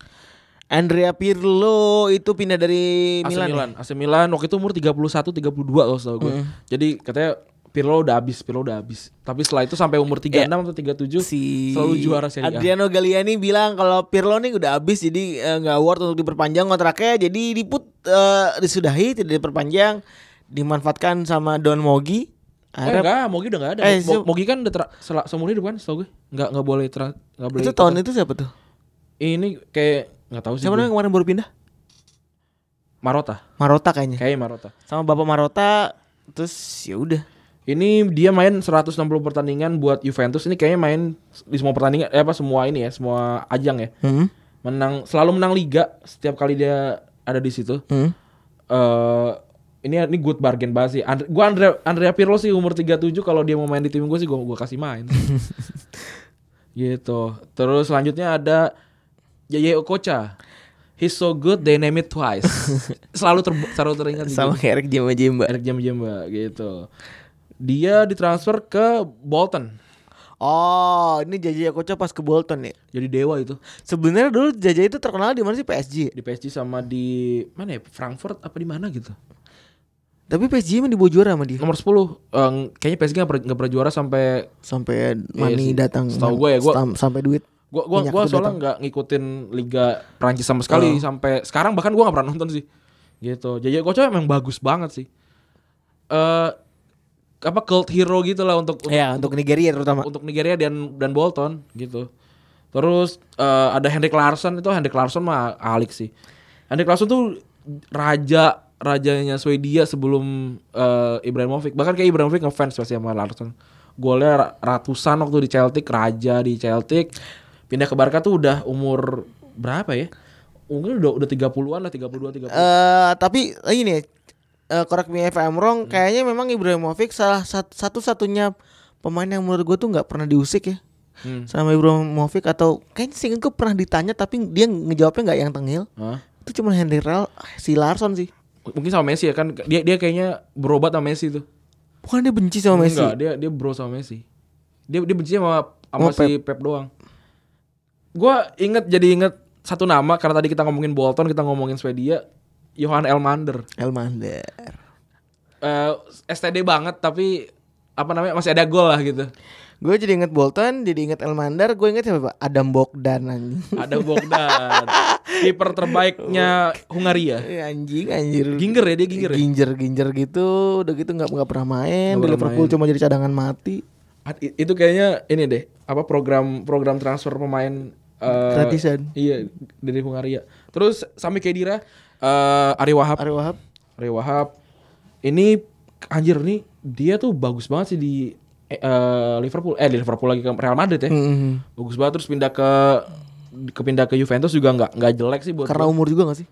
Speaker 2: Andrea Pirlo itu pindah dari
Speaker 3: AC
Speaker 2: Milan.
Speaker 3: Milan.
Speaker 2: ya?
Speaker 3: AC Milan waktu itu umur 31 32 kalau setahu gue. Jadi katanya Pirlo udah habis, Pirlo udah habis. Tapi setelah itu sampai umur 36 atau
Speaker 2: Ya.
Speaker 3: 37
Speaker 2: si
Speaker 3: selalu juara Serie A.
Speaker 2: Adriano Galliani bilang kalau Pirlo nih udah habis jadi eh, nggak award untuk diperpanjang kontraknya jadi diput eh, disudahi tidak diperpanjang dimanfaatkan sama Don Mogi
Speaker 3: Eh,
Speaker 2: Arab
Speaker 3: enggak, Mogi udah enggak ada.
Speaker 2: Eh, so-
Speaker 3: Mo- Mogi kan udah tra- sel- seumur hidup kan, setahu gue. Enggak enggak boleh tra- enggak boleh
Speaker 2: itu
Speaker 3: ikut
Speaker 2: tahun itu siapa tuh
Speaker 3: ini kayak nggak tahu sih
Speaker 2: siapa
Speaker 3: gue.
Speaker 2: namanya kemarin baru pindah
Speaker 3: Marota
Speaker 2: Marota kayaknya
Speaker 3: kayaknya Marota
Speaker 2: sama bapak Marota terus ya udah
Speaker 3: ini dia main 160 pertandingan buat Juventus ini kayaknya main di semua pertandingan eh apa semua ini ya semua ajang ya
Speaker 2: hmm.
Speaker 3: menang selalu menang liga setiap kali dia ada di situ
Speaker 2: Hmm.
Speaker 3: eh ini ini good bargain banget sih Andre, gua Andrea Andrea Pirlo sih umur 37 kalau dia mau main di tim gue sih gua gua kasih main gitu terus selanjutnya ada Yaya Okocha He's so good they name it twice selalu ter selalu teringat di
Speaker 2: sama kayak Eric Jemba Jemba
Speaker 3: Eric Jamba Jamba gitu. Dia ditransfer ke Bolton.
Speaker 2: oh ini Jaja Koco pas ke Bolton ya
Speaker 3: Jadi dewa itu.
Speaker 2: sebenarnya dulu Jaja itu terkenal di mana sih PSG ya?
Speaker 3: Di PSG sama di mana ya? Frankfurt apa di mana gitu.
Speaker 2: tapi PSG emang dibawa juara sama dia
Speaker 3: Nomor 10. Em, kayaknya PSG gak pernah, nggak pernah juara sampai
Speaker 2: sampai
Speaker 3: Iya sih.
Speaker 2: Mani datang
Speaker 3: Setahu gua ya, gua-
Speaker 2: sam- sampai duit
Speaker 3: Gua gua
Speaker 2: Minyak
Speaker 3: gua
Speaker 2: itu
Speaker 3: soalnya nggak ngikutin liga Prancis sama sekali sampai sekarang bahkan gua nggak pernah nonton sih. Gitu. Jaya Koco emang bagus banget sih. Eh apa cult hero gitu lah untuk untuk,
Speaker 2: Ya, untuk Nigeria terutama.
Speaker 3: untuk Nigeria dan dan Bolton gitu. Terus eh, ada Henrik Larsson itu Henrik Larsson mah alik sih. Henrik Larsson tuh raja rajanya Swedia sebelum eh, Ibrahimovic. Bahkan kayak Ibrahimovic ngefans pasti sama Larsson. Golnya ra- ratusan waktu di Celtic, raja di Celtic. Pindah ke Barca tuh udah umur berapa ya? Mungkin udah udah 30-an lah, 32 30.
Speaker 2: Eh tapi eh, ini eh correct me if I'm
Speaker 3: Hmm.
Speaker 2: wrong, kayaknya memang Ibrahimovic salah sat- satu-satunya pemain yang menurut gue tuh nggak pernah diusik ya.
Speaker 3: Hmm.
Speaker 2: Sama Ibrahimovic atau kayaknya sih gue pernah ditanya tapi dia ngejawabnya nggak yang tengil.
Speaker 3: Hah?
Speaker 2: Itu cuma Henry Ral si Larson sih.
Speaker 3: Mungkin sama Messi ya kan dia dia kayaknya berobat sama Messi tuh.
Speaker 2: Bukan dia benci sama Messi.
Speaker 3: Enggak, dia dia bro sama Messi. Dia dia benci sama sama
Speaker 2: Sama
Speaker 3: si Oh, Pep doang. Gua inget jadi inget satu nama karena tadi kita ngomongin Bolton, kita ngomongin Swedia, Johan Elmander.
Speaker 2: Elmander.
Speaker 3: Eh STD banget tapi apa namanya masih ada gol lah gitu.
Speaker 2: Gue jadi inget Bolton, jadi inget Elmander, gue inget siapa? Adam Bogdan anjing.
Speaker 3: Ada Bogdan, kiper terbaiknya Hungaria.
Speaker 2: Eh, anjing anjir.
Speaker 3: Ginger ya dia Ginger. Ya?
Speaker 2: Ginger ginger gitu, udah gitu nggak nggak pernah main.
Speaker 3: Nggak
Speaker 2: Di
Speaker 3: pernah
Speaker 2: Liverpool
Speaker 3: main.
Speaker 2: cuma jadi cadangan mati.
Speaker 3: Ah, i- Itu kayaknya ini deh, apa program program transfer pemain eh,
Speaker 2: Gratisan.
Speaker 3: Iya, dari Hungaria. Terus Sami Khedira, eh Ari Wahab
Speaker 2: Ari Wahab
Speaker 3: Ray Wahab ini anjir nih dia tuh bagus banget sih di eh, eh, Liverpool eh di Liverpool lagi ke Real Madrid ya
Speaker 2: Mhm.
Speaker 3: bagus banget terus pindah ke kepindah ke Juventus juga nggak nggak jelek sih buat
Speaker 2: karena
Speaker 3: gua.
Speaker 2: umur juga gak sih?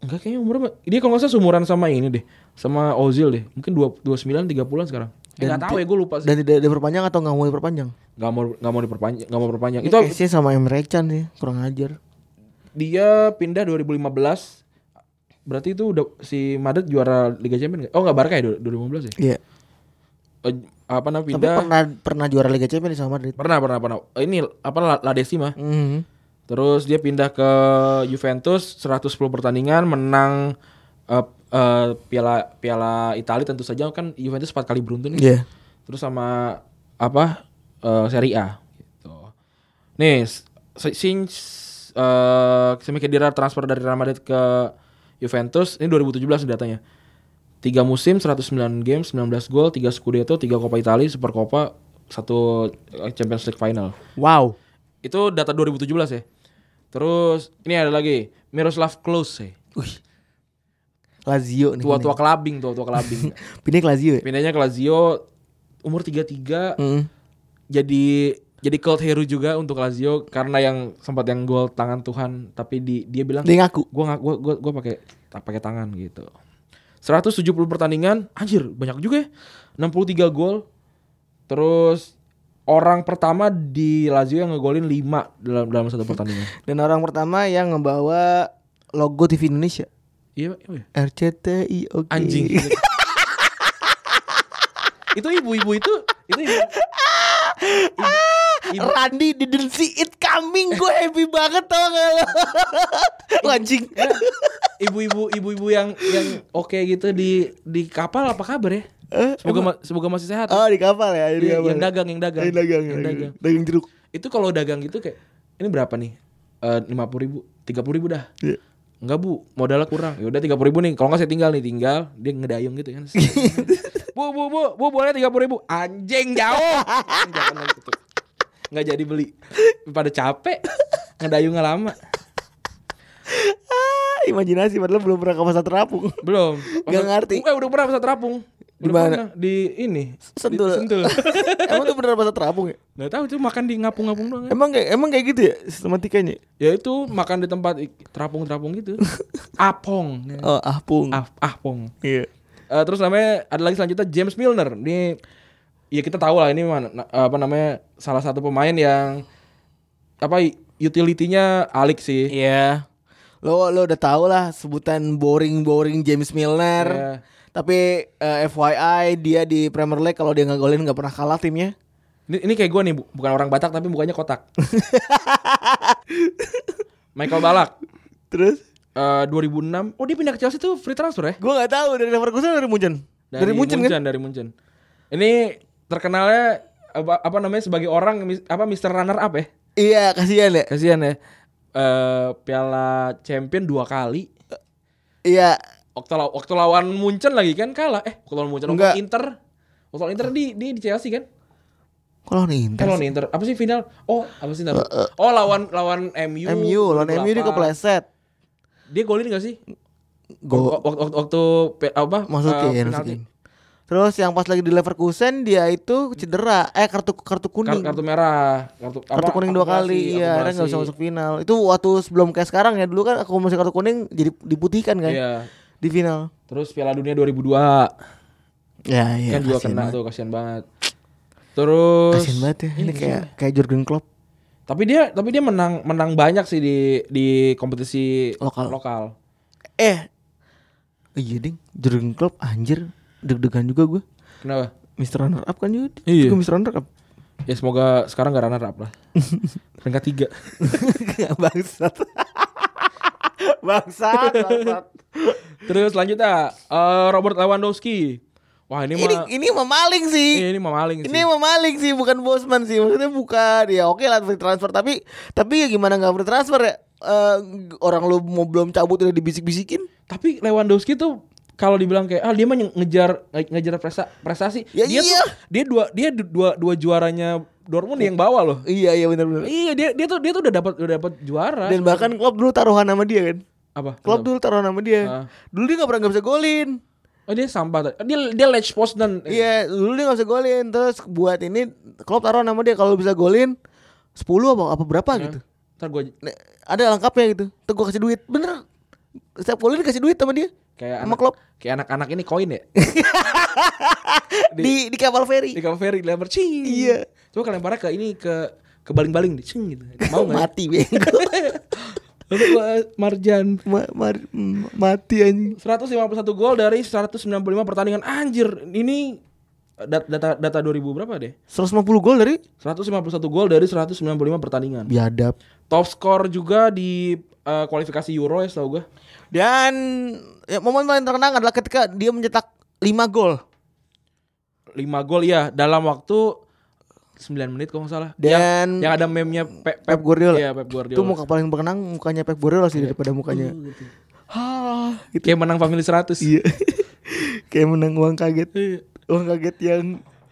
Speaker 3: nggak kayaknya umurnya dia kalau nggak salah seumuran sama ini deh sama Ozil deh mungkin dua dua sembilan tiga bulan sekarang Eh, nggak tahu ya gue lupa sih
Speaker 2: Dan tidak diperpanjang atau nggak mau diperpanjang?
Speaker 3: nggak mau nggak mau diperpanjang nggak mau perpanjang
Speaker 2: Itu
Speaker 3: itu
Speaker 2: ya, sih sama Emre Can sih, kurang ajar.
Speaker 3: dia pindah 2015 berarti itu udah si Madrid juara Liga Champions nggak? oh nggak Barca ya 2015 ya
Speaker 2: Iya.
Speaker 3: Eh, apa namanya
Speaker 2: Tapi
Speaker 3: pindah
Speaker 2: pernah pernah juara Liga Champions sama Madrid.
Speaker 3: Pernah, pernah, pernah. Eh, Ini apa La, La Decima.
Speaker 2: Mhm.
Speaker 3: Terus dia pindah ke Juventus 110 pertandingan, menang eh, eh, piala piala Italia tentu saja kan Juventus 4 kali beruntun ya.
Speaker 2: Iya.
Speaker 3: Terus sama apa? eh, Serie A gitu. Nih, s- since eh Semi Khedira transfer dari Real Madrid ke Juventus, ini 2017 datanya. 3 musim, 109 game, 19 gol, 3 Scudetto, 3 Coppa Italia, Supercoppa, 1 Champions League final.
Speaker 2: Wow.
Speaker 3: Itu data 2017 ya. Terus ini ada lagi Miroslav Klose.
Speaker 2: Lazio nih.
Speaker 3: Tua-tua kelabing, tua-tua kelabing.
Speaker 2: pindah. Pindah ke Lazio ya?
Speaker 3: Pindahnya ke Lazio umur 33
Speaker 2: Mhm.
Speaker 3: jadi jadi cult hero juga untuk Lazio karena yang sempat yang gol tangan Tuhan tapi di, dia bilang
Speaker 2: Dia ngaku.
Speaker 3: gua nggak gua gua gua pakai tak pakai tangan gitu. 170 pertandingan, anjir banyak juga ya. 63 gol. Terus orang pertama di Lazio yang ngegolin 5 dalam dalam satu pertandingan.
Speaker 2: Dan orang pertama yang ngebawa logo TV Indonesia.
Speaker 3: Iya, iya.
Speaker 2: RCTI oke.
Speaker 3: anjing itu ibu-ibu itu itu ibu, ibu-
Speaker 2: Randy didn't see it coming Gue happy banget tau gak lo Lo anjing
Speaker 3: ibu-ibu ibu-ibu yang yang oke gitu di di kapal apa kabar ya
Speaker 2: Eh,
Speaker 3: semoga ma- semoga masih sehat
Speaker 2: Oh di kapal ya di
Speaker 3: Iya,
Speaker 2: kapal.
Speaker 3: yang dagang yang dagang
Speaker 2: Yang dagang
Speaker 3: Yang
Speaker 2: Yang
Speaker 3: dagang.
Speaker 2: dagang, dagang jeruk
Speaker 3: itu kalau dagang gitu kayak ini berapa nih Eh, lima puluh ribu tiga puluh ribu dah
Speaker 2: Iya.
Speaker 3: Enggak bu, modalnya kurang. Ya udah tiga ribu nih. Kalau nggak saya tinggal nih, tinggal dia ngedayung gitu kan. bu, bu, bu, bu boleh tiga ribu. Anjing jauh. Jangan lagi tuh. Nggak jadi beli. Pada capek. Ngedayungnya lama.
Speaker 2: ah, Imajinasi padahal belum pernah ke pasar terapung
Speaker 3: Belum.
Speaker 2: Nggak ngerti.
Speaker 3: Eh udah pernah pasar terapung.
Speaker 2: Di mana?
Speaker 3: Udah pernah. Di ini. Di-
Speaker 2: Sentul.
Speaker 3: Sentul.
Speaker 2: Emang tuh beneran pasar terapung ya
Speaker 3: Nggak tahu tuh makan di ngapung-ngapung doang. kan.
Speaker 2: Emang kayak, emang kayak gitu ya sistematikanya
Speaker 3: Ya itu makan di tempat i- terapung-terapung gitu. Apong.
Speaker 2: Oh ahpung
Speaker 3: Ah, apong.
Speaker 2: Iya
Speaker 3: Eh, terus namanya ada lagi selanjutnya James Milner. Ini ya kita tahu lah ini mana na- apa namanya salah satu pemain yang apa i- utility-nya alik sih.
Speaker 2: Iya Lo, lo udah tau lah sebutan boring-boring James Milner
Speaker 3: Iya.
Speaker 2: Tapi eh, FYI dia di Premier League kalau dia nggak golin nggak pernah kalah timnya
Speaker 3: Ini, ini kayak gue nih, bu- bukan orang Batak tapi mukanya kotak. Michael Balak
Speaker 2: Terus
Speaker 3: eh, 2006. Oh, dia pindah ke Chelsea tuh free transfer ya?
Speaker 2: Gue gak tahu dari Leverkusen atau dari Munchen. Dari, Munchen, kan?
Speaker 3: dari Munchen. Ini terkenalnya apa, apa namanya sebagai orang mis- apa Mr. Runner Up ya?
Speaker 2: Iya kasihan ya.
Speaker 3: Kasihan ya. Eh, Piala Champion dua kali.
Speaker 2: Iya
Speaker 3: Waktu, law- waktu lawan Munchen lagi kan kalah. Eh, waktu lawan Munchen
Speaker 2: Enggak.
Speaker 3: waktu Inter. Waktu lawan Inter di di, di Chelsea kan?
Speaker 2: kalau nih
Speaker 3: Eh, lawan Inter. Apa sih final? Oh, apa sih
Speaker 2: Eh,
Speaker 3: nama? Oh, lawan lawan MU.
Speaker 2: MU lawan MU dia
Speaker 3: 28.
Speaker 2: kepleset.
Speaker 3: Dia golin gak sih?
Speaker 2: Go
Speaker 3: Waktu waktu, waktu pe- apa? eh,
Speaker 2: masukin,
Speaker 3: penalti.
Speaker 2: masukin. Terus yang pas lagi di Leverkusen dia itu cedera eh kartu kartu
Speaker 3: Kar-
Speaker 2: kuning.
Speaker 3: kartu merah, kartu
Speaker 2: kartu kuning dua kali iya akhirnya nggak bisa masuk final itu waktu sebelum kayak sekarang ya dulu kan aku masih kartu kuning jadi diputihkan kan
Speaker 3: Iya.
Speaker 2: di final
Speaker 3: Terus Piala Dunia 2002
Speaker 2: ya iya
Speaker 3: kan juga
Speaker 2: kasihan
Speaker 3: kena
Speaker 2: banget.
Speaker 3: tuh kasihan banget. Terus
Speaker 2: Kasihan banget ya ini
Speaker 3: Iya,
Speaker 2: kayak kayak Jurgen Klopp
Speaker 3: tapi dia tapi dia menang menang banyak sih di di kompetisi
Speaker 2: Lokal.
Speaker 3: lokal.
Speaker 2: eh iya ding Jurgen Klopp anjir deg-degan juga gue
Speaker 3: Kenapa?
Speaker 2: Mister Runner Up kan juga
Speaker 3: Iya.
Speaker 2: juga Mister Runner Up
Speaker 3: Ya semoga sekarang gak runner up lah. Peringkat tiga.
Speaker 2: bangsat bangsat bangsat
Speaker 3: Terus lanjutnya eh, Robert Lewandowski. Wah
Speaker 2: ini
Speaker 3: ini, mah Iya,
Speaker 2: ini memaling sih
Speaker 3: ini, ini mah maling sih.
Speaker 2: Ini memaling sih, bukan Bosman sih. Maksudnya bukan. Ya oke lah free transfer, tapi tapi ya gimana nggak free transfer ya? Eh, orang lu mau belum cabut udah dibisik-bisikin.
Speaker 3: Tapi Lewandowski tuh kalau dibilang kayak ah dia mah nge- ngejar nge- ngejar presa- prestasi.
Speaker 2: Ya
Speaker 3: dia
Speaker 2: iya.
Speaker 3: tuh dia dua dia du- dua dua juaranya Dortmund yang bawa loh.
Speaker 2: Iya iya benar-benar.
Speaker 3: Iya dia dia tuh dia tuh udah dapat udah dapat juara.
Speaker 2: Dan bahkan Klopp dulu taruhan sama dia kan.
Speaker 3: apa?
Speaker 2: Klopp dulu taruhan sama dia.
Speaker 3: Ah.
Speaker 2: Dulu dia nggak pernah nggak bisa golin.
Speaker 3: Oh dia sampah tadi. Dia dia Lech Poznan.
Speaker 2: Iya, dulu dia nggak bisa golin. Terus buat ini Klopp taruhan sama dia kalau bisa golin 10 apa apa berapa gitu.
Speaker 3: Ntar gue
Speaker 2: Nah, ada lengkapnya gitu. Tuh gua kasih duit. Bener. Setiap golin dikasih duit sama dia.
Speaker 3: kayak
Speaker 2: Sama
Speaker 3: anak
Speaker 2: Klopp.
Speaker 3: kayak anak-anak ini koin ya.
Speaker 2: Di di, kapal feri.
Speaker 3: Di kamar Ferry lempar cing.
Speaker 2: Iya.
Speaker 3: Coba kalian parah ke ini ke ke baling-baling nih cing gitu. Mau enggak?
Speaker 2: mati bego.
Speaker 3: Lalu gua Marjan
Speaker 2: Ma- mar- m- mati anjing.
Speaker 3: 151 gol dari 195 pertandingan anjir ini dat- data data 2000 berapa deh
Speaker 2: 150 gol dari
Speaker 3: 151 gol dari 195 pertandingan
Speaker 2: biadab.
Speaker 3: top skor juga di eh, kualifikasi Euro ya setahu gue
Speaker 2: Dan ya, momen paling terkenang adalah ketika dia mencetak 5 gol
Speaker 3: 5 gol ya dalam waktu 9 menit kalau nggak salah
Speaker 2: dan
Speaker 3: yang ada meme-nya Pe-
Speaker 2: Pep Guardiola. Iya. Oh, gitu.
Speaker 3: Iya, Pep Guardiola.
Speaker 2: Itu muka paling berkenang mukanya Pep Guardiola sih daripada mukanya. Hah, gitu.
Speaker 3: kayak menang family 100
Speaker 2: Iya. Kayak menang uang kaget. Uang kaget yang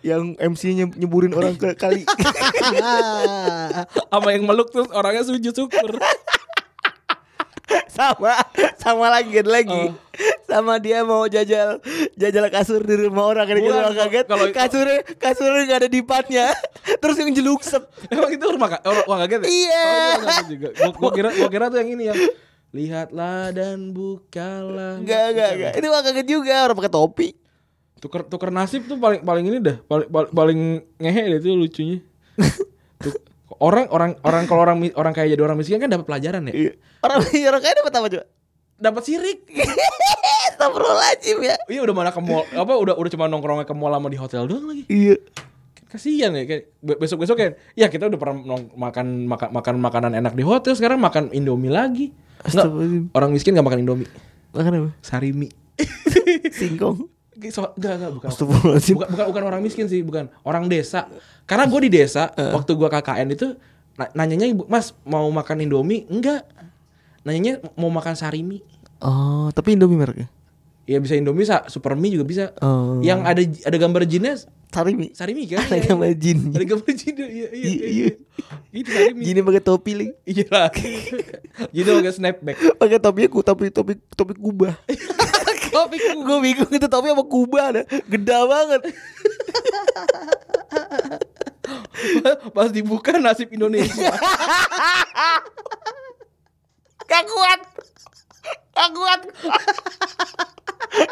Speaker 2: yang MC-nya nyeburin orang ke kali. Ah.
Speaker 3: sama yang meluk terus orangnya sujud syukur
Speaker 2: sama sama lagi ada lagi
Speaker 3: Oh.
Speaker 2: sama dia mau jajal jajal kasur di rumah orang kan
Speaker 3: Bukan,
Speaker 2: orang kaget
Speaker 3: kalau-
Speaker 2: kasurnya kasurnya nggak ada dipannya terus yang jelukset
Speaker 3: Emang itu rumah ka- orang orang kaget ya?
Speaker 2: Iya.
Speaker 3: Oh, itu orang kaget juga. Gua, gua kira gua kira tuh yang ini yang lihatlah dan bukalah.
Speaker 2: nggak nggak nggak itu orang kaget juga orang pakai topi
Speaker 3: Tuker tuker nasib tuh paling paling ini dah paling paling, paling ngehe deh itu lucunya. Tuk- orang orang orang kalau orang mi- orang kaya jadi orang miskin kan dapat pelajaran
Speaker 2: Iya.
Speaker 3: ya.
Speaker 2: orang orang kayak dapat apa coba
Speaker 3: Dapat sirik.
Speaker 2: Astagfirullahaladzim ya
Speaker 3: Iya udah mana ke mall apa udah udah cuma nongkrongnya ke mall sama di hotel doang lagi.
Speaker 2: iya
Speaker 3: Kasihan ya kayak besok besok kayak ya kita udah pernah nong- makan makan makan makanan enak di hotel sekarang makan Indomie lagi. Nggak,
Speaker 2: Astagfirullahaladzim
Speaker 3: orang miskin nggak makan Indomie.
Speaker 2: makan apa
Speaker 3: Sarimi.
Speaker 2: singkong
Speaker 3: So, enggak, enggak, bukan.
Speaker 2: Astagfirullahaladzim
Speaker 3: bukan. Bukan bukan orang miskin sih, bukan. Orang desa. Karena gue di desa,
Speaker 2: Eh.
Speaker 3: waktu gua KKN itu na- nanyanya ibu, "Mas, mau makan Indomie?" Enggak. Nanyanya mau makan sarimi.
Speaker 2: oh tapi Indomie mereknya
Speaker 3: Ya bisa Indomie, sa- Supermi juga bisa.
Speaker 2: Oh.
Speaker 3: Yang ada ada gambar jinnya
Speaker 2: Sarimi
Speaker 3: sarimi kan?
Speaker 2: ada
Speaker 3: Iya,
Speaker 2: gambar
Speaker 3: iya.
Speaker 2: jin
Speaker 3: Ada gambar jinnya. Iya, iya,
Speaker 2: Iya,
Speaker 3: iya.
Speaker 2: iya.
Speaker 3: Itu sarimi.
Speaker 2: jin pakai topi ling
Speaker 3: Iya lah. Jadi agak snapback.
Speaker 2: pakai topi ku topi topi topi kubah
Speaker 3: Kopi ku-
Speaker 2: gue bingung itu topi apa kuba ada geda banget
Speaker 3: Pas dibuka nasib Indonesia.
Speaker 2: gak kuat gak kuat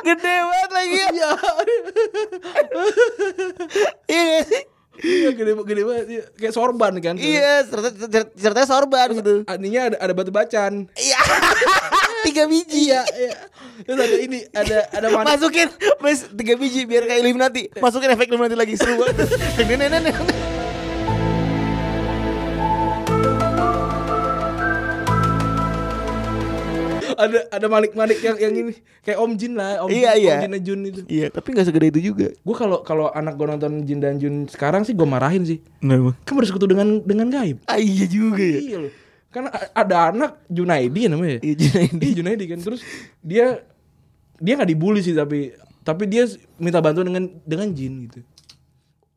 Speaker 2: gede banget lagi ya
Speaker 3: Iya.
Speaker 2: iya nggak sih?
Speaker 3: Iya gede gede banget iya. kayak sorban kan.
Speaker 2: iya cerita- cerita- ceritanya sorban gitu
Speaker 3: Aninya ada, ada batu bacan.
Speaker 2: iya tiga biji ya
Speaker 3: Iya. Terus ada ini, ada ada mana?
Speaker 2: masukin mas tiga biji biar kayak Illuminati masukin efek Illuminati lagi seru banget Deng, deng, deng, deng, deng.
Speaker 3: ada ada Malik-Malik yang yang ini kayak Om Jin lah, Om
Speaker 2: Iya,
Speaker 3: Jin,
Speaker 2: iya.
Speaker 3: Om Jin dan Jun itu.
Speaker 2: Iya, tapi nggak segede itu juga.
Speaker 3: Gue kalau kalau anak gue nonton Jin dan Jun sekarang sih gue marahin sih.
Speaker 2: Kenapa?
Speaker 3: Kan bersekutu dengan dengan gaib.
Speaker 2: Ah, iya juga ya.
Speaker 3: Iya loh. Karena a- ada anak Junaidi ya namanya.
Speaker 2: Iya, Junaidi.
Speaker 3: Iya Junaidi kan terus dia dia nggak dibully sih tapi tapi dia s- minta bantuan dengan dengan jin gitu.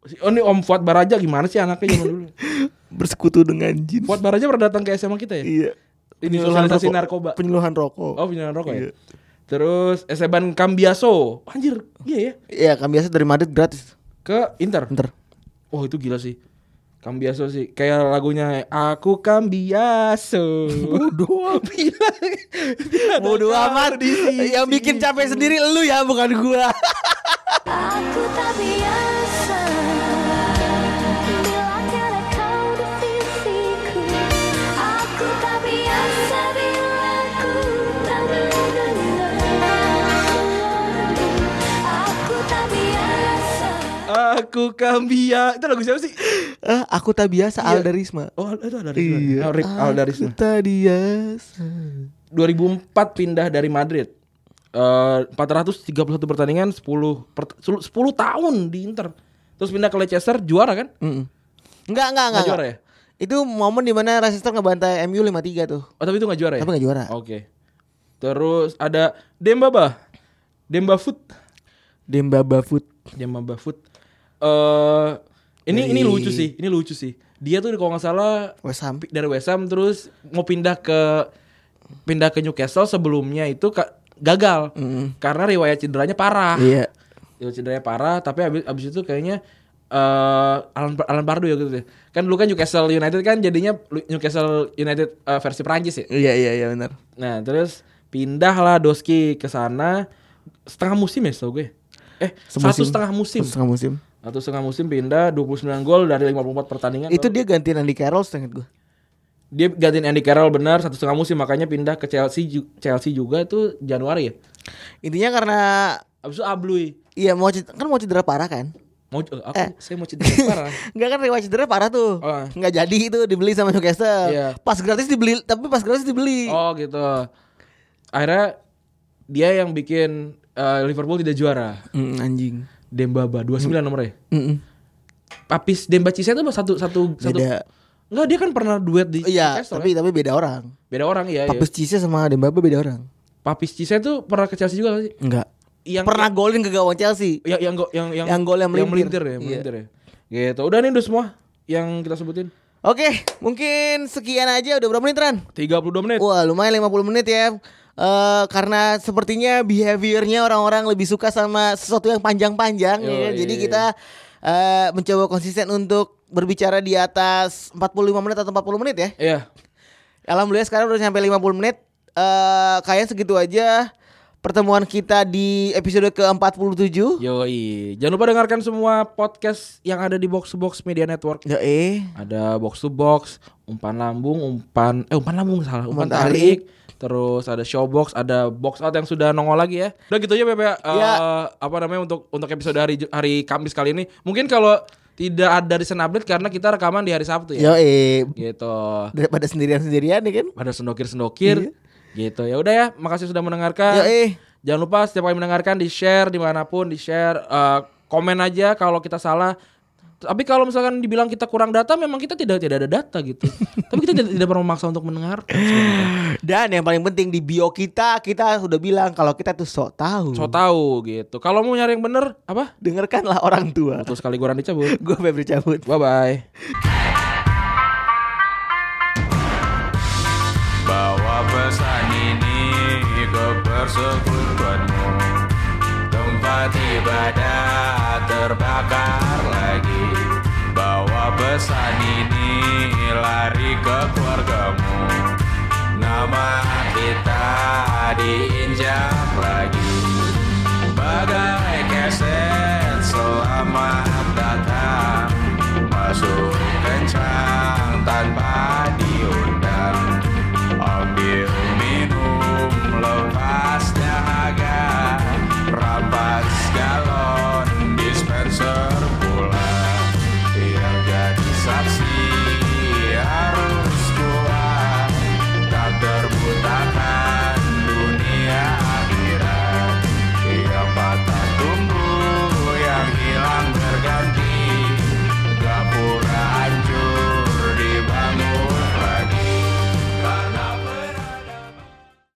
Speaker 3: Si- Oh ini Om Fuad Baraja gimana sih anaknya zaman dulu?
Speaker 2: Bersekutu dengan jin.
Speaker 3: Fuad Baraja pernah datang ke SMA kita ya?
Speaker 2: Iya.
Speaker 3: Ini
Speaker 2: Penyuluhan
Speaker 3: sosialisasi
Speaker 2: rokok-
Speaker 3: narkoba.
Speaker 2: Penyuluhan rokok.
Speaker 3: Oh penyuluhan rokok
Speaker 2: Iya.
Speaker 3: ya. Terus Esteban Cambiaso, anjir, iya ya,
Speaker 2: Iya, kan biasa dari Madrid gratis.
Speaker 3: ke Inter.
Speaker 2: Bentar.
Speaker 3: Wah itu gila sih. Cambiaso sih, kayak lagunya Aku Iya. Cambiaso. Bodoh. Bila,
Speaker 2: Bodoh amat Yang bikin capek sendiri lu ya, bukan gua.
Speaker 4: Aku tak biasa Bila tiada kau di sisiku Aku tak biasa bila ku tak mengenalmu Aku tak biasa
Speaker 3: Aku Cambia. Itu lagu siapa sih?
Speaker 2: Eh, aku tak biasa
Speaker 3: Iya.
Speaker 2: Aldarisma.
Speaker 3: Oh, itu ada
Speaker 2: Iya.
Speaker 3: Oh, Rip Aldarisma.
Speaker 2: Aku tak biasa.
Speaker 3: 2004 pindah dari Madrid. Eh 431 pertandingan 10 per- 10 tahun di Inter. Terus pindah ke Leicester juara kan?
Speaker 2: Mm-mm. Enggak, enggak, enggak.
Speaker 3: Nggak juara
Speaker 2: enggak.
Speaker 3: ya?
Speaker 2: Itu momen dimana Leicester ngebantai MU 5-3 tuh.
Speaker 3: Oh, tapi itu nggak juara ya?
Speaker 2: Tapi nggak juara.
Speaker 3: Oke. Terus ada Dembaba. Demba Foot.
Speaker 2: Dembaba Foot.
Speaker 3: Demba Foot. Eh ini ini
Speaker 2: Dari-
Speaker 3: lucu sih. Ini lucu sih. Dia tuh kalau nggak salah
Speaker 2: West Ham.
Speaker 3: pi- dari West Ham terus mau pindah ke pindah ke Newcastle sebelumnya itu ka- gagal karena riwayat cederanya parah.
Speaker 2: Iya.
Speaker 3: Riwayat cederanya parah tapi abis, abis itu kayaknya eh Alan Alan Pardew ya gitu deh. Kan dulu kan Newcastle United kan jadinya Lu- Newcastle United eh, versi Prancis ya.
Speaker 2: Iya, iya, iya benar.
Speaker 3: Nah, terus pindahlah Doski ke sana setengah musim ya setahu gue. Eh, satu setengah musim.
Speaker 2: Satu setengah musim.
Speaker 3: Satu setengah musim pindah 29 gol dari 54 pertandingan.
Speaker 2: Itu dia gantiin Andy Carroll setengah gua.
Speaker 3: dia gantiin Andy Carroll benar satu setengah musim makanya pindah ke Chelsea ju- Chelsea juga itu Januari ya
Speaker 2: Intinya karena
Speaker 3: abis itu ablui
Speaker 2: Iya mau ced- kan mau cedera parah kan?
Speaker 3: mau eh, aku
Speaker 2: Eh.
Speaker 3: saya mau cedera parah
Speaker 2: Enggak kan riwayat cedera parah tuh.
Speaker 3: Oh.
Speaker 2: Enggak jadi itu dibeli sama Newcastle.
Speaker 3: Iya.
Speaker 2: Pas gratis dibeli, tapi pas gratis dibeli.
Speaker 3: oh gitu akhirnya dia yang bikin eh, Liverpool tidak juara
Speaker 2: Mm, anjing.
Speaker 3: Dembaba 29 nomornya
Speaker 2: Mm-mm.
Speaker 3: Papis Demba Cisse itu satu satu satu
Speaker 2: Beda.
Speaker 3: Enggak dia kan pernah duet di
Speaker 2: Iya,
Speaker 3: Newcastle
Speaker 2: tapi
Speaker 3: kan?
Speaker 2: tapi beda orang.
Speaker 3: beda orang iya, iya.
Speaker 2: Papus Cisse sama Dembaba beda orang.
Speaker 3: Papis Cisse tuh pernah ke Chelsea juga nggak sih
Speaker 2: Enggak.
Speaker 3: yang Iya. Ya,
Speaker 2: Pernah golin ke gawang Chelsea.
Speaker 3: yang yang go- yang yang,
Speaker 2: Yang gol yang
Speaker 3: melintir
Speaker 2: melintir.
Speaker 3: ya,
Speaker 2: Iya.
Speaker 3: melintir ya. Gitu. Udah nih udah semua yang kita sebutin.
Speaker 2: Oke, mungkin sekian aja udah berapa menit Ran?
Speaker 3: 32 menit.
Speaker 2: Wah, lumayan 50 menit ya. Eh karena sepertinya behaviornya orang-orang lebih suka sama sesuatu yang panjang-panjang ya.
Speaker 3: Yoi.
Speaker 2: kan? Jadi kita eh mencoba konsisten untuk berbicara di atas 45 menit atau 40 menit ya.
Speaker 3: Iya.
Speaker 2: Alhamdulillah sekarang udah sampai 50 menit. Eh kayaknya segitu aja pertemuan kita di episode ke-47.
Speaker 3: Yoi. Jangan lupa dengarkan semua podcast yang ada di Box to Box Media Network.
Speaker 2: Ya eh.
Speaker 3: Ada Box to Box, Umpan Lambung, Umpan eh Umpan Lambung salah, Umpan
Speaker 2: Umpan
Speaker 3: Tarik. Terus ada Showbox, ada Box Out yang sudah nongol lagi ya. Udah gitu aja Beb ya. Eh,
Speaker 2: Ya.
Speaker 3: apa namanya untuk untuk episode hari Ju- hari Kamis kali ini. Mungkin kalau tidak ada recent update karena kita rekaman di hari Sabtu
Speaker 2: Yo
Speaker 3: ya.
Speaker 2: eh
Speaker 3: Gitu.
Speaker 2: daripada sendirian-sendirian ya kan.
Speaker 3: Ada sendokir-sendokir. Gitu. Ya udah ya, makasih sudah mendengarkan.
Speaker 2: Yo eh.
Speaker 3: Jangan lupa setiap kali mendengarkan di share dimanapun di share Eh, komen aja kalau kita salah. Tapi kalau misalkan dibilang kita kurang data, memang kita tidak tidak ada data gitu. Tapi kita tidak, tidak pernah memaksa untuk mendengar.
Speaker 2: Dan yang paling penting di bio kita kita sudah bilang kalau kita tuh sok tahu.
Speaker 3: So tahu gitu. Kalau mau nyari yang bener apa?
Speaker 2: Dengarkanlah orang tua.
Speaker 3: Terus kali goran dicabut.
Speaker 2: Gue Febri cabut.
Speaker 3: Bye bye.
Speaker 5: Bawa pesan ini ke persekutuanmu Tempat ibadah terbakar lagi Bawa pesan ini lari ke keluarga